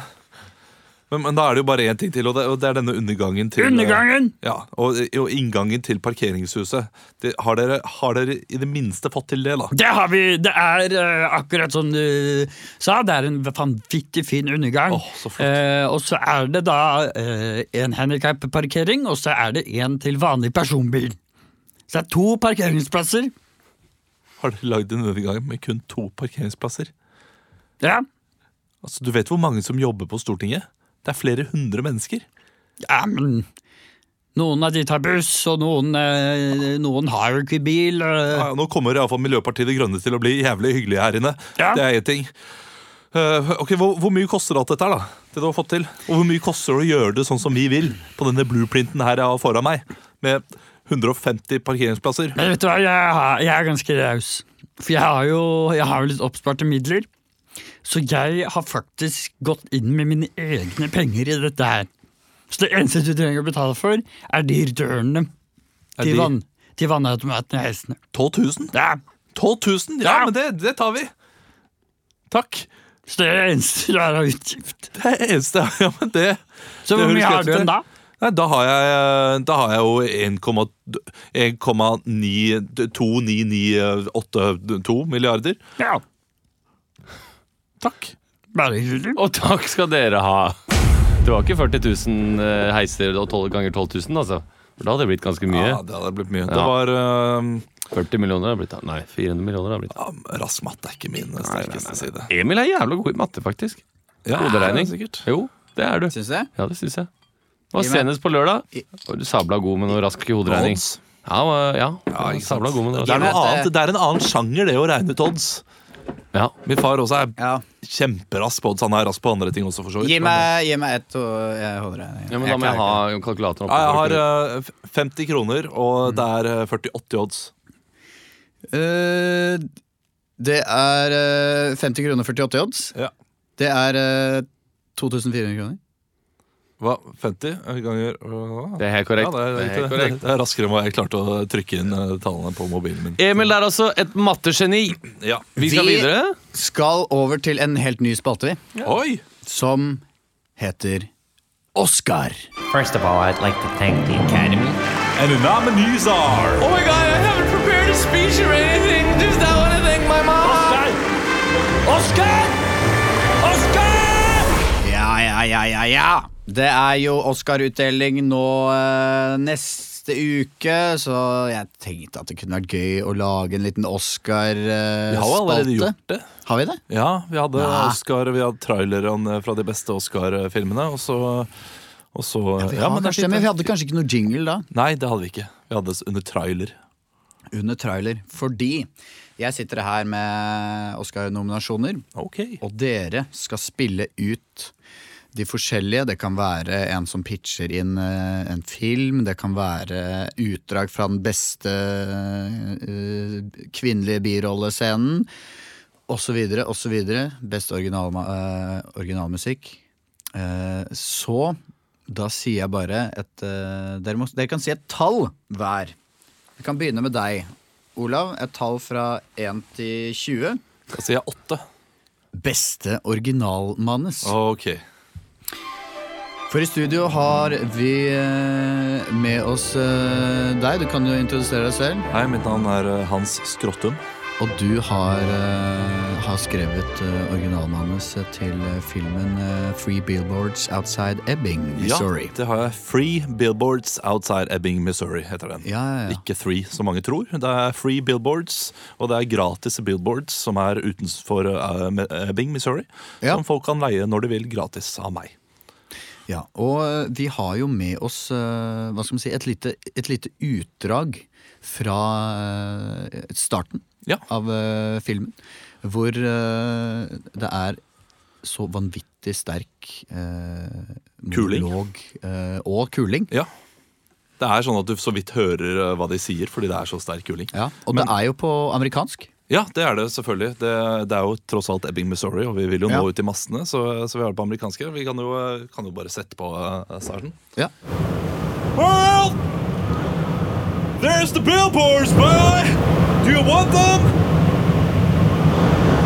Speaker 1: men, men da er det jo bare én ting til, og det, og det er denne undergangen til eh,
Speaker 6: undergangen.
Speaker 1: Ja, og, og inngangen til parkeringshuset. Det, har, dere, har dere i det minste fått til det, da?
Speaker 6: Det har vi. Det er eh, akkurat som du sa, det er en vanvittig fin undergang.
Speaker 1: Åh, så flott.
Speaker 6: Eh, og så er det da eh, en handikapparkering, og så er det en til vanlig personbil. Så det er to parkeringsplasser. Eh.
Speaker 1: Har dere lagd en undergang med kun to parkeringsplasser?
Speaker 6: Ja,
Speaker 1: Altså, Du vet hvor mange som jobber på Stortinget? Det er flere hundre mennesker.
Speaker 6: ja men noen av de tar buss, og noen, eh, noen har jo ikke bil. eh.
Speaker 1: Ja, ja, nå kommer iallfall Miljøpartiet De Grønne til å bli jævlig hyggelige her inne.
Speaker 6: Ja.
Speaker 1: Det er én ting. Eh, ok, hvor, hvor mye koster alt dette her, da? Det du har fått til? Og hvor mye koster det å gjøre det sånn som vi vil? På denne blueprinten her jeg har foran meg, med 150 parkeringsplasser.
Speaker 6: Men vet du hva, jeg, har, jeg er ganske raus. For jeg har, jo, jeg har jo litt oppsparte midler. Så jeg har faktisk gått inn med mine egne penger i dette her. Så det eneste du trenger å betale for, er de dørene
Speaker 1: de-
Speaker 6: til, vann, til vannautomatene i heisene.
Speaker 1: 12 000?
Speaker 6: Ja.
Speaker 1: 12 000? Ja,
Speaker 6: Ja.
Speaker 1: men det, det tar vi. Takk.
Speaker 6: Større eneste rare utgift.
Speaker 1: Det er det eneste [LAUGHS] jeg har. Ja, men det,
Speaker 6: Så
Speaker 1: Det
Speaker 6: hvor
Speaker 1: høres
Speaker 6: mye har
Speaker 1: greit
Speaker 6: du
Speaker 1: ut,
Speaker 6: igjen
Speaker 1: det.
Speaker 6: da?
Speaker 1: nei, da, har jeg, da har jeg jo 1,2998 milliarder.
Speaker 6: Ja.
Speaker 1: Takk.
Speaker 6: Bare hyggelig.
Speaker 3: Og takk skal dere ha. Det var ikke 40 000 eh, heiser og 12 ganger 12 000, altså. For da hadde det blitt ganske mye.
Speaker 1: Ja, det hadde blitt mye. Det
Speaker 3: Ja.
Speaker 1: var eh,
Speaker 3: 40 millioner har blitt Nei, 400 millioner har blitt.
Speaker 1: ja, Rask matte er ikke min sterkeste side.
Speaker 3: Emil er jævla god i matte, faktisk.
Speaker 1: Ja,
Speaker 3: Hoderegning.
Speaker 1: det er sikkert.
Speaker 3: Jo, det er du.
Speaker 2: Syns jeg.
Speaker 3: Ja, det syns jeg. Det var
Speaker 2: Gi meg-
Speaker 3: senest på lørdag. Og du sabla god med noe rask hoderegning.
Speaker 1: Odds.
Speaker 3: Ja, han var- ja.
Speaker 1: Ja, ikke sant.
Speaker 3: sabla god med noe
Speaker 1: Det er,
Speaker 3: rask.
Speaker 1: noe
Speaker 2: at
Speaker 1: annet,
Speaker 2: det-
Speaker 1: det er en annen sjanger, det å regne ut odds.
Speaker 3: Ja.
Speaker 1: Min far også er
Speaker 2: Ja.
Speaker 1: kjemperask på odds. Han er rask på andre ting også, for så vidt.
Speaker 2: Gi meg, gi meg ett, og jeg holder deg.
Speaker 3: ja, men da må jeg ha kalkulatoren oppe.
Speaker 1: Ja, jeg har eh, f- 50 kroner, og det er eh, 48 i odds.
Speaker 2: Eh, det er eh, 50 kroner 48 odds.
Speaker 1: Ja.
Speaker 2: Det er eh, 2400 kroner.
Speaker 1: Hva? 50 ganger hva?
Speaker 3: Det er helt
Speaker 1: Ja,
Speaker 3: korrekt.
Speaker 1: det er,
Speaker 3: Det er helt
Speaker 1: riktig, det.
Speaker 3: korrekt.
Speaker 1: det er raskere enn hva jeg klarte å trykke inn eh, tallene på mobilen min.
Speaker 3: [LAUGHS] Emil er altså et mattegeni.
Speaker 1: Ja.
Speaker 3: Vi skal
Speaker 2: Vi-
Speaker 3: videre.
Speaker 2: Skal over til en helt ny spalte, vi,
Speaker 1: Oi!
Speaker 2: som heter Oscar.
Speaker 7: First of all, I'd like to thank the Academy.
Speaker 1: And the nominees are
Speaker 3: Oh my god, I haven't prepared a speech or anything. Just I want to thank my mom.
Speaker 6: Oskar! Oskar! Oskar!
Speaker 2: Ja, ja, ja, ja, ja. Det er jo Oscar-utdeling nå eh, neste uke, så jeg tenkte at det kunne vært gøy å lage en liten eh,
Speaker 1: Vi har jo allerede
Speaker 2: Oscar-spalte.
Speaker 1: gjort det.
Speaker 2: har vi det?
Speaker 1: Ja, vi hadde
Speaker 2: Nei.
Speaker 1: Oscar, vi hadde trailerne fra de beste Oscar-filmene, og så, og så
Speaker 2: Vi,
Speaker 1: ja,
Speaker 2: har
Speaker 1: men
Speaker 2: kanskje,
Speaker 1: det er
Speaker 2: det,
Speaker 1: fint,
Speaker 2: men
Speaker 1: det.
Speaker 2: vi hadde kanskje ikke noe jingle da.
Speaker 1: Nei, det hadde vi ikke. Vi hadde s- under trailer.
Speaker 2: under trailer, fordi jeg sitter her med Oscar-nominasjoner,
Speaker 1: Ok.
Speaker 2: og dere skal spille ut de forskjellige. Det kan være en som pitcher inn eh, en film, det kan være utdrag fra den beste eh, kvinnelige birollescenen, osv., osv. Beste original, eh, originalmusikk. Eh, så da sier jeg bare et eh, dere, må, dere kan si et tall hver. Vi kan begynne med deg, Olav. Et tall fra 1 til 20.
Speaker 1: Da sier jeg åtte.
Speaker 2: Beste originalmanus.
Speaker 1: Ok.
Speaker 2: For i studio har vi eh, med oss eh, deg. Du kan jo introdusere deg selv.
Speaker 1: Hei, mitt navn er eh, Hans Skrottum.
Speaker 2: Og du har, eh, har skrevet eh, originalmanuset til eh, filmen eh, Free Billboards Outside Ebbing, Missouri.
Speaker 1: Ja, det har jeg. Free Billboards Outside Ebbing, Missouri heter den.
Speaker 2: Ja, ja, ja.
Speaker 1: Ikke three, som mange tror. Det er free billboards, og det er gratis billboards som er utenfor eh, Me- Ebbing, Missouri.
Speaker 2: Ja.
Speaker 1: Som folk kan leie når de vil, gratis av meg.
Speaker 2: Ja, og eh, vi har jo med oss eh, hva skal man si, et, lite, et lite utdrag fra eh, starten
Speaker 1: Ja.
Speaker 2: av eh, filmen. Hvor eh, det er så vanvittig sterk eh,
Speaker 1: Kuling.
Speaker 2: monolog eh, og kuling.
Speaker 1: Ja. Det er sånn at du så vidt hører eh, hva de sier, fordi det er så sterk kuling.
Speaker 2: Ja, og det er jo på amerikansk.
Speaker 1: Ja, det er det selvfølgelig. Det, det er jo tross alt Ebbing, Missouri, og vi vil jo
Speaker 2: Ja.
Speaker 1: nå ut i massene, så, så vi har det på amerikanske. Vi kan jo, eh, kan jo bare sette på eh, starten.
Speaker 2: Ja.
Speaker 1: Well, there's the billboards, boy. Do you want them?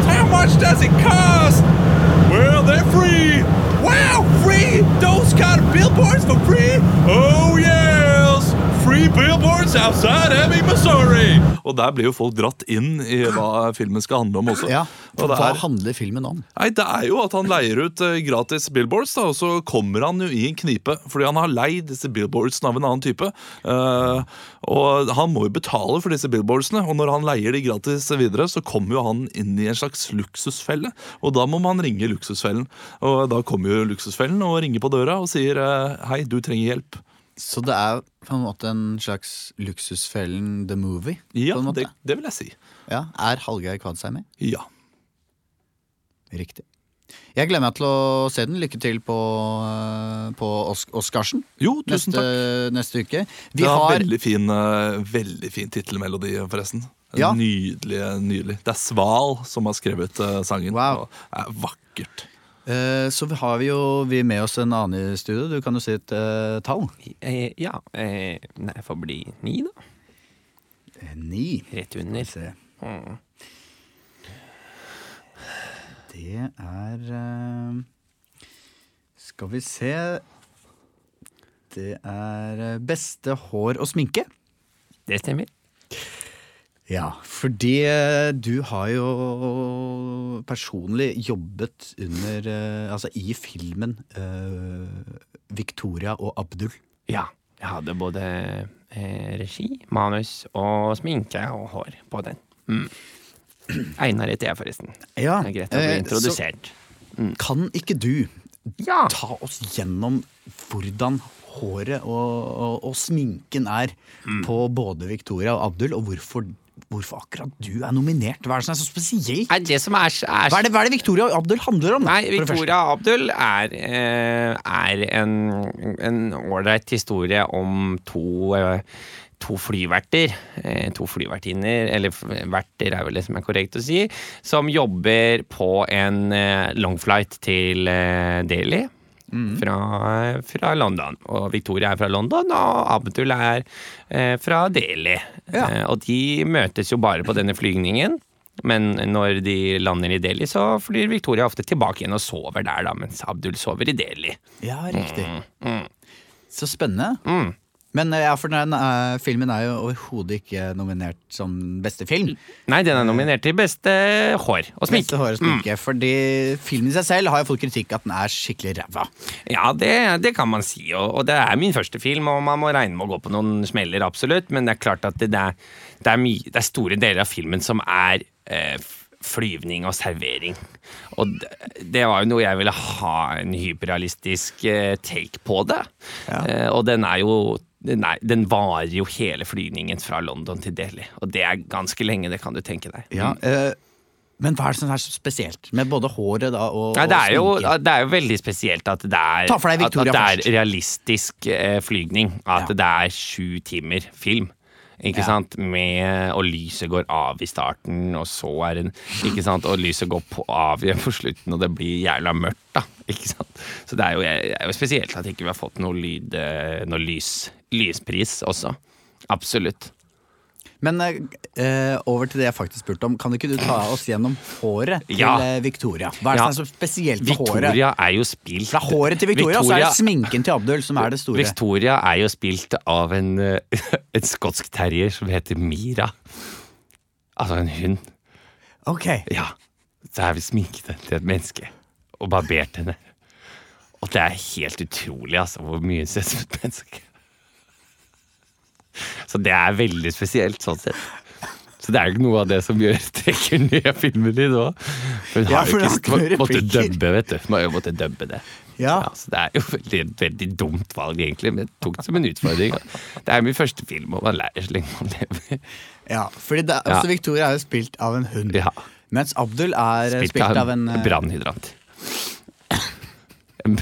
Speaker 1: How much does it cost? Well, they're free. Wow, free? Those kind of billboards for free? Oh yes, free billboards outside Abbey, Missouri. Og der blir jo folk dratt inn i hva filmen skal handle om også.
Speaker 2: ja.
Speaker 1: Og det
Speaker 2: Hva
Speaker 1: er-
Speaker 2: handler filmen om?
Speaker 1: Nei, Det er jo at han leier ut eh, gratis billboards, da, og så kommer han jo i en knipe. Fordi han har leid disse billboardsene av en annen type. Eh, og han må jo betale for disse billboardsene, og når han leier de gratis videre, så kommer jo han inn i en slags luksusfelle. Og da må man ringe luksusfellen. Og da kommer jo luksusfellen og ringer på døra og sier eh, hei, du trenger hjelp.
Speaker 2: Så det er på en måte en slags Luksusfellen the movie?
Speaker 1: Ja,
Speaker 2: på en måte.
Speaker 1: det, det vil jeg si.
Speaker 2: ja. Er Hallgeir Kvadsheim med?
Speaker 1: Ja.
Speaker 2: Riktig. Jeg gleder meg til å se den. Lykke til på, eh, på Os Oscarsen
Speaker 1: Jo, tusen
Speaker 2: neste,
Speaker 1: takk.
Speaker 2: neste uke. Vi
Speaker 1: Det er
Speaker 2: har
Speaker 1: veldig fin, eh, veldig fin tittelmelodi, forresten.
Speaker 2: Ja.
Speaker 1: Nydelig. nydelig Det er Sval som har skrevet eh, sangen.
Speaker 2: Wow.
Speaker 1: Og Det er vakkert.
Speaker 2: eh, Så vi har vi jo vi med oss en annen i studio. Du kan jo si et eh, tall.
Speaker 7: Eh, ja, eh, nei, får bli ni, da.
Speaker 2: Ni.
Speaker 7: Rett under.
Speaker 2: Se. Det er eh, Skal vi se Det er eh, beste hår og sminke.
Speaker 3: Det stemmer.
Speaker 2: Ja, fordi eh, du har jo personlig jobbet under eh, Altså i filmen eh, Victoria og Abdul.
Speaker 3: Ja. Jeg hadde både eh, regi, manus og sminke og hår på den. Mm. Einar heter jeg, forresten.
Speaker 2: Ja,
Speaker 3: Det er greit å bli
Speaker 2: eh, så
Speaker 3: introdusert.
Speaker 2: kan ikke du
Speaker 3: Ja.
Speaker 2: ta oss gjennom hvordan håret og, og, og sminken er
Speaker 3: Mm.
Speaker 2: på både Victoria og Abdul, og hvorfor, hvorfor akkurat du er nominert? Hva er det som er så spesielt?
Speaker 3: Er det som er, så- er
Speaker 2: Hva er det, hva er det Victoria og Abdul handler om? da,
Speaker 3: Nei,
Speaker 2: for det første?
Speaker 3: Victoria Abdul er, eh, er en- en ålreit historie om to, eh, to flyverter. eh, To flyvertinner, eller f- verter er vel det som er korrekt å si, som jobber på en eh, longflight til eh, Delhi. Fra, fra London. Og Victoria er fra London, og Abdul er eh, fra Delhi. Eh, og de møtes jo bare på denne flygningen. Men når de lander i Delhi, så flyr Victoria ofte tilbake igjen og sover der, da, mens Abdul sover i Delhi. Mm,
Speaker 2: Ja, riktig. Så spennende. Men eh, ja, for den eh, filmen er jo overhodet ikke nominert som beste film.
Speaker 3: Nei, den er nominert til beste hår og Mm.
Speaker 2: Beste
Speaker 3: sminke.
Speaker 2: hår og sminke. Fordi filmen i seg selv har jo fått kritikk at den er skikkelig ræva.
Speaker 3: Ja, det, det kan man si, og, og det er min første film, og man må regne med å gå på noen smeller, absolutt, men det er klart at det, det, er, det, er, mye- det er store deler av filmen som er eh, f- flyvning og servering. Og det, det var jo noe jeg ville ha en hyperrealistisk eh, take på det. Eh, og den er jo den, er, den varer jo hele flygningen fra London til Delhi, og det er ganske lenge, det kan du tenke deg.
Speaker 2: Ja, eh, men hva er det som er så spesielt med både håret da og,
Speaker 3: Nei, det, er jo,
Speaker 2: og sminken?
Speaker 3: det er jo veldig spesielt at det er,
Speaker 2: Ta for deg
Speaker 3: at, at
Speaker 2: Victoria
Speaker 3: det
Speaker 2: først.
Speaker 3: er realistisk eh, flygning. At
Speaker 2: Ja.
Speaker 3: det er sju timer film. Ikke
Speaker 2: Ja.
Speaker 3: sant? Med, og lyset går av i starten, og så er den Ikke sant? Og lyset går på, av igjen på slutten, og det blir jævla mørkt, da. Ikke sant? Så det er jo, det er jo spesielt at ikke vi har fått noe lyd eh, Noe lys, lyspris også. Absolutt.
Speaker 2: Men eh, eh, over til det jeg faktisk spurte om. Kan ikke du ta oss gjennom håret til
Speaker 3: Ja.
Speaker 2: eh, Victoria? Hva er det
Speaker 3: Ja.
Speaker 2: som er så spesielt med håret?
Speaker 3: Victoria er jo spilt
Speaker 2: Det er håret til Victoria, og så er det sminken til Abdul som er det store.
Speaker 3: Victoria er jo spilt av en, eh, [LAUGHS] en skotsk terrier som heter Mira. Altså en hund.
Speaker 2: Ok,
Speaker 3: Ja. Så er vi sminket henne til et menneske og barbert henne. Og det er helt utrolig altså, hvor mye hun ser ut som et menneske. Så det er veldig spesielt, sånn sett. Så det er jo ikke noe av det som gjør [LAUGHS] trekker ned filmen din nå. For hun
Speaker 2: Ja,
Speaker 3: har
Speaker 2: for
Speaker 3: jo
Speaker 2: det
Speaker 3: ikke
Speaker 2: har ikke noen
Speaker 3: måtte
Speaker 2: replikker.
Speaker 3: dubbe, vet du. Hun har jo måttet dubbe det.
Speaker 2: ja.
Speaker 3: Ja, så det er jo veldig, veldig dumt valg, egentlig, men jeg tok det som en utfordring. Det er min første film, og man lærer så lenge man lever.
Speaker 2: ja. Fordi det, er-
Speaker 3: Ja.
Speaker 2: også Victoria er jo spilt av en hund.
Speaker 3: Ja.
Speaker 2: Mens Abdul er eh, spilt av en eh,
Speaker 3: brannhydrant. En,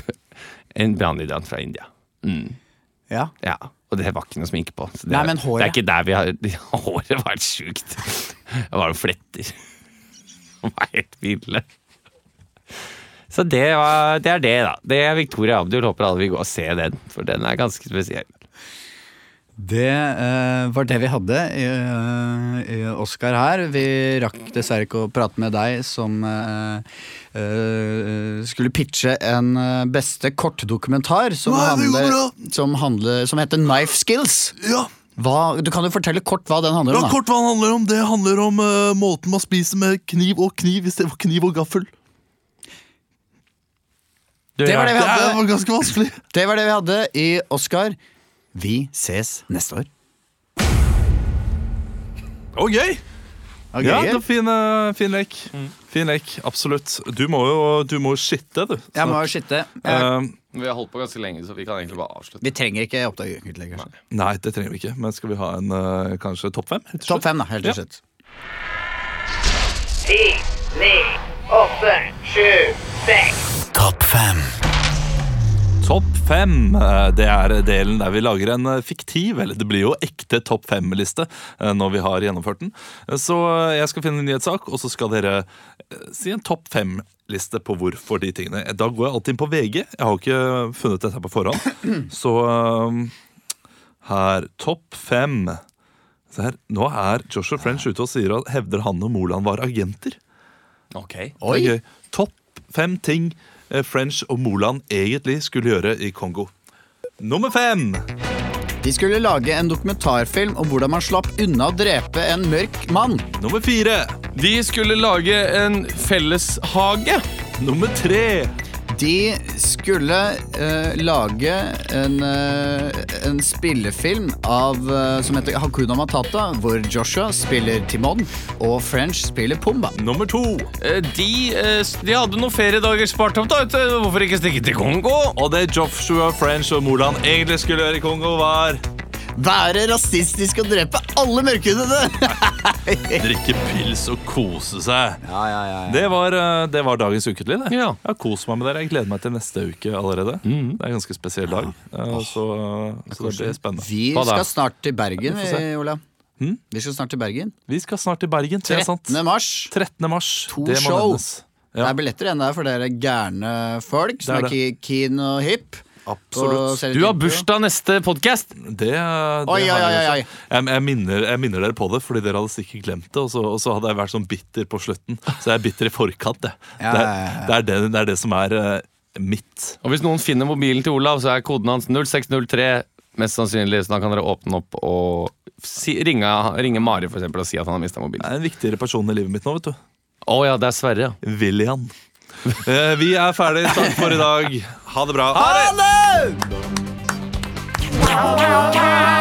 Speaker 3: en brannhydrant fra India.
Speaker 2: Ja.
Speaker 3: Ja, og det var ikke noe sminke på. Så det,
Speaker 2: Nei,
Speaker 3: er-
Speaker 2: men håret?
Speaker 3: Det er ikke der vi har [LAUGHS] Håret var helt sjukt. Det var jo fletter. Det var helt ville. Så det, var, det er det, da. Det er Victoria Abdul. Håper alle vil gå og se den, for den er ganske spesiell.
Speaker 2: Det eh, var det vi hadde i, eh, i Oscar her. Vi rakk dessverre ikke å prate med deg som eh, eh, skulle pitche en eh, beste kortdokumentar som,
Speaker 1: Nei, det går
Speaker 2: handler,
Speaker 1: bra.
Speaker 2: som, handler, som heter Knife Skills.
Speaker 1: Ja,
Speaker 2: Hva, du kan jo fortelle kort hva den handler
Speaker 1: ja
Speaker 2: om. da
Speaker 1: kort hva det handler om. Det handler om eh, måten man spiser med kniv og kniv istedenfor kniv og gaffel.
Speaker 2: Det var det
Speaker 1: Det
Speaker 2: vi hadde,
Speaker 1: er ganske vanskelig.
Speaker 2: det var det vi hadde i Oscar. Vi ses neste år.
Speaker 1: Ok,
Speaker 2: Okay,
Speaker 1: ja, det er fin, eh, fin lek.
Speaker 2: Mm.
Speaker 1: Fin lek, Absolutt. Du må jo du må jo shitte, du.
Speaker 2: jeg må skitte. Jeg,
Speaker 1: Eh,
Speaker 3: Vi har holdt på ganske lenge, så vi kan egentlig bare avslutte.
Speaker 2: vi trenger ikke oppdage utlegg. kanskje.
Speaker 1: nei, det trenger vi ikke. Men skal vi ha en eh, kanskje topp fem? rett og slett?
Speaker 2: Topp fem, da, helt til
Speaker 1: Ja.
Speaker 2: slutt.
Speaker 8: ti, ni, åtte, sju, seks.
Speaker 1: Topp fem, eh, det er delen der vi lager en eh, fiktiv, eller det blir jo ekte topp fem-liste eh, når vi har gjennomført den. Eh, Så eh, jeg skal finne en nyhetssak, og så skal dere eh, si en topp fem-liste på hvorfor de tingene. Eh, Da går jeg alltid inn på VG. Jeg har jo ikke funnet dette på forhånd. Så eh, her Topp fem Se her, Nå er Joshua French ute og sier at hevder han og Moland var agenter.
Speaker 2: Oi!
Speaker 1: Det er gøy. Topp fem ting eh, French og Moland egentlig skulle gjøre i Kongo. Nummer fem!
Speaker 2: De skulle lage en dokumentarfilm om hvordan man slapp unna å drepe en mørk mann.
Speaker 1: Nummer fire!
Speaker 3: De skulle lage en felleshage.
Speaker 1: Nummer tre!
Speaker 2: De skulle eh, lage en, eh, en spillefilm av, eh, som heter Hakuna Matata, hvor Joshua spiller Timon og French spiller Pumba.
Speaker 1: Nummer to!
Speaker 3: Eh, De, eh, s- de hadde noen feriedager spart opp, da. vet du. Hvorfor ikke stikke til Kongo?
Speaker 1: Og det Joshua French og Moland egentlig skulle gjøre i Kongo, var
Speaker 2: Være rasistisk og drepe alle mørkhudede!
Speaker 1: drikke pils og kose seg. Det, var, eh, det var dagens uketlig. det.
Speaker 3: Ja.
Speaker 1: Jeg har kost meg med dere. Jeg gleder meg til neste uke allerede. Det er en ganske spesiell dag, eh, og så, så det blir spennende.
Speaker 2: Vi
Speaker 3: Hva da?
Speaker 2: skal snart til Bergen,
Speaker 1: Vi får se.
Speaker 2: vi, Olav. Vi skal snart til Bergen.
Speaker 1: Vi skal snart til Bergen. det er sant.
Speaker 2: 13. mars.
Speaker 1: 13. mars.
Speaker 2: To
Speaker 1: det må
Speaker 2: show.
Speaker 1: nevnes.
Speaker 2: Det
Speaker 1: Ja,
Speaker 2: er billetter igjen der for dere gærne folk som er,
Speaker 1: Det er
Speaker 2: ki- keen og hip. Og
Speaker 1: absolutt.
Speaker 2: ser litt
Speaker 3: Du har
Speaker 2: hip på.
Speaker 3: bursdag neste podkast.
Speaker 1: Det, det har
Speaker 2: Oi,
Speaker 1: jeg
Speaker 2: oi, oi,
Speaker 1: også.
Speaker 2: oi.
Speaker 1: Jeg, jeg, minner, jeg minner dere på det, fordi dere hadde sikkert glemt det. Og så, og så hadde jeg vært sånn bitter på slutten. Så jeg er bitter i forkant. Det,
Speaker 2: Ja,
Speaker 1: det,
Speaker 2: ja, ja,
Speaker 1: er, det, er, det, det er det som er eh, mitt.
Speaker 3: Og hvis noen finner mobilen til Olav, så er koden hans 0603. Mest sannsynlig, så da kan dere åpne opp og si, ringe, ringe Mari for eksempel, og si at han har mista mobilen.
Speaker 1: Det er en viktigere person i livet mitt nå, vet du.
Speaker 3: Å ja, det er Sverre, ja.
Speaker 1: William. Eh, Vi er ferdig. Takk for i dag. Ha det bra. Ha det!
Speaker 8: Pow, pow, pow.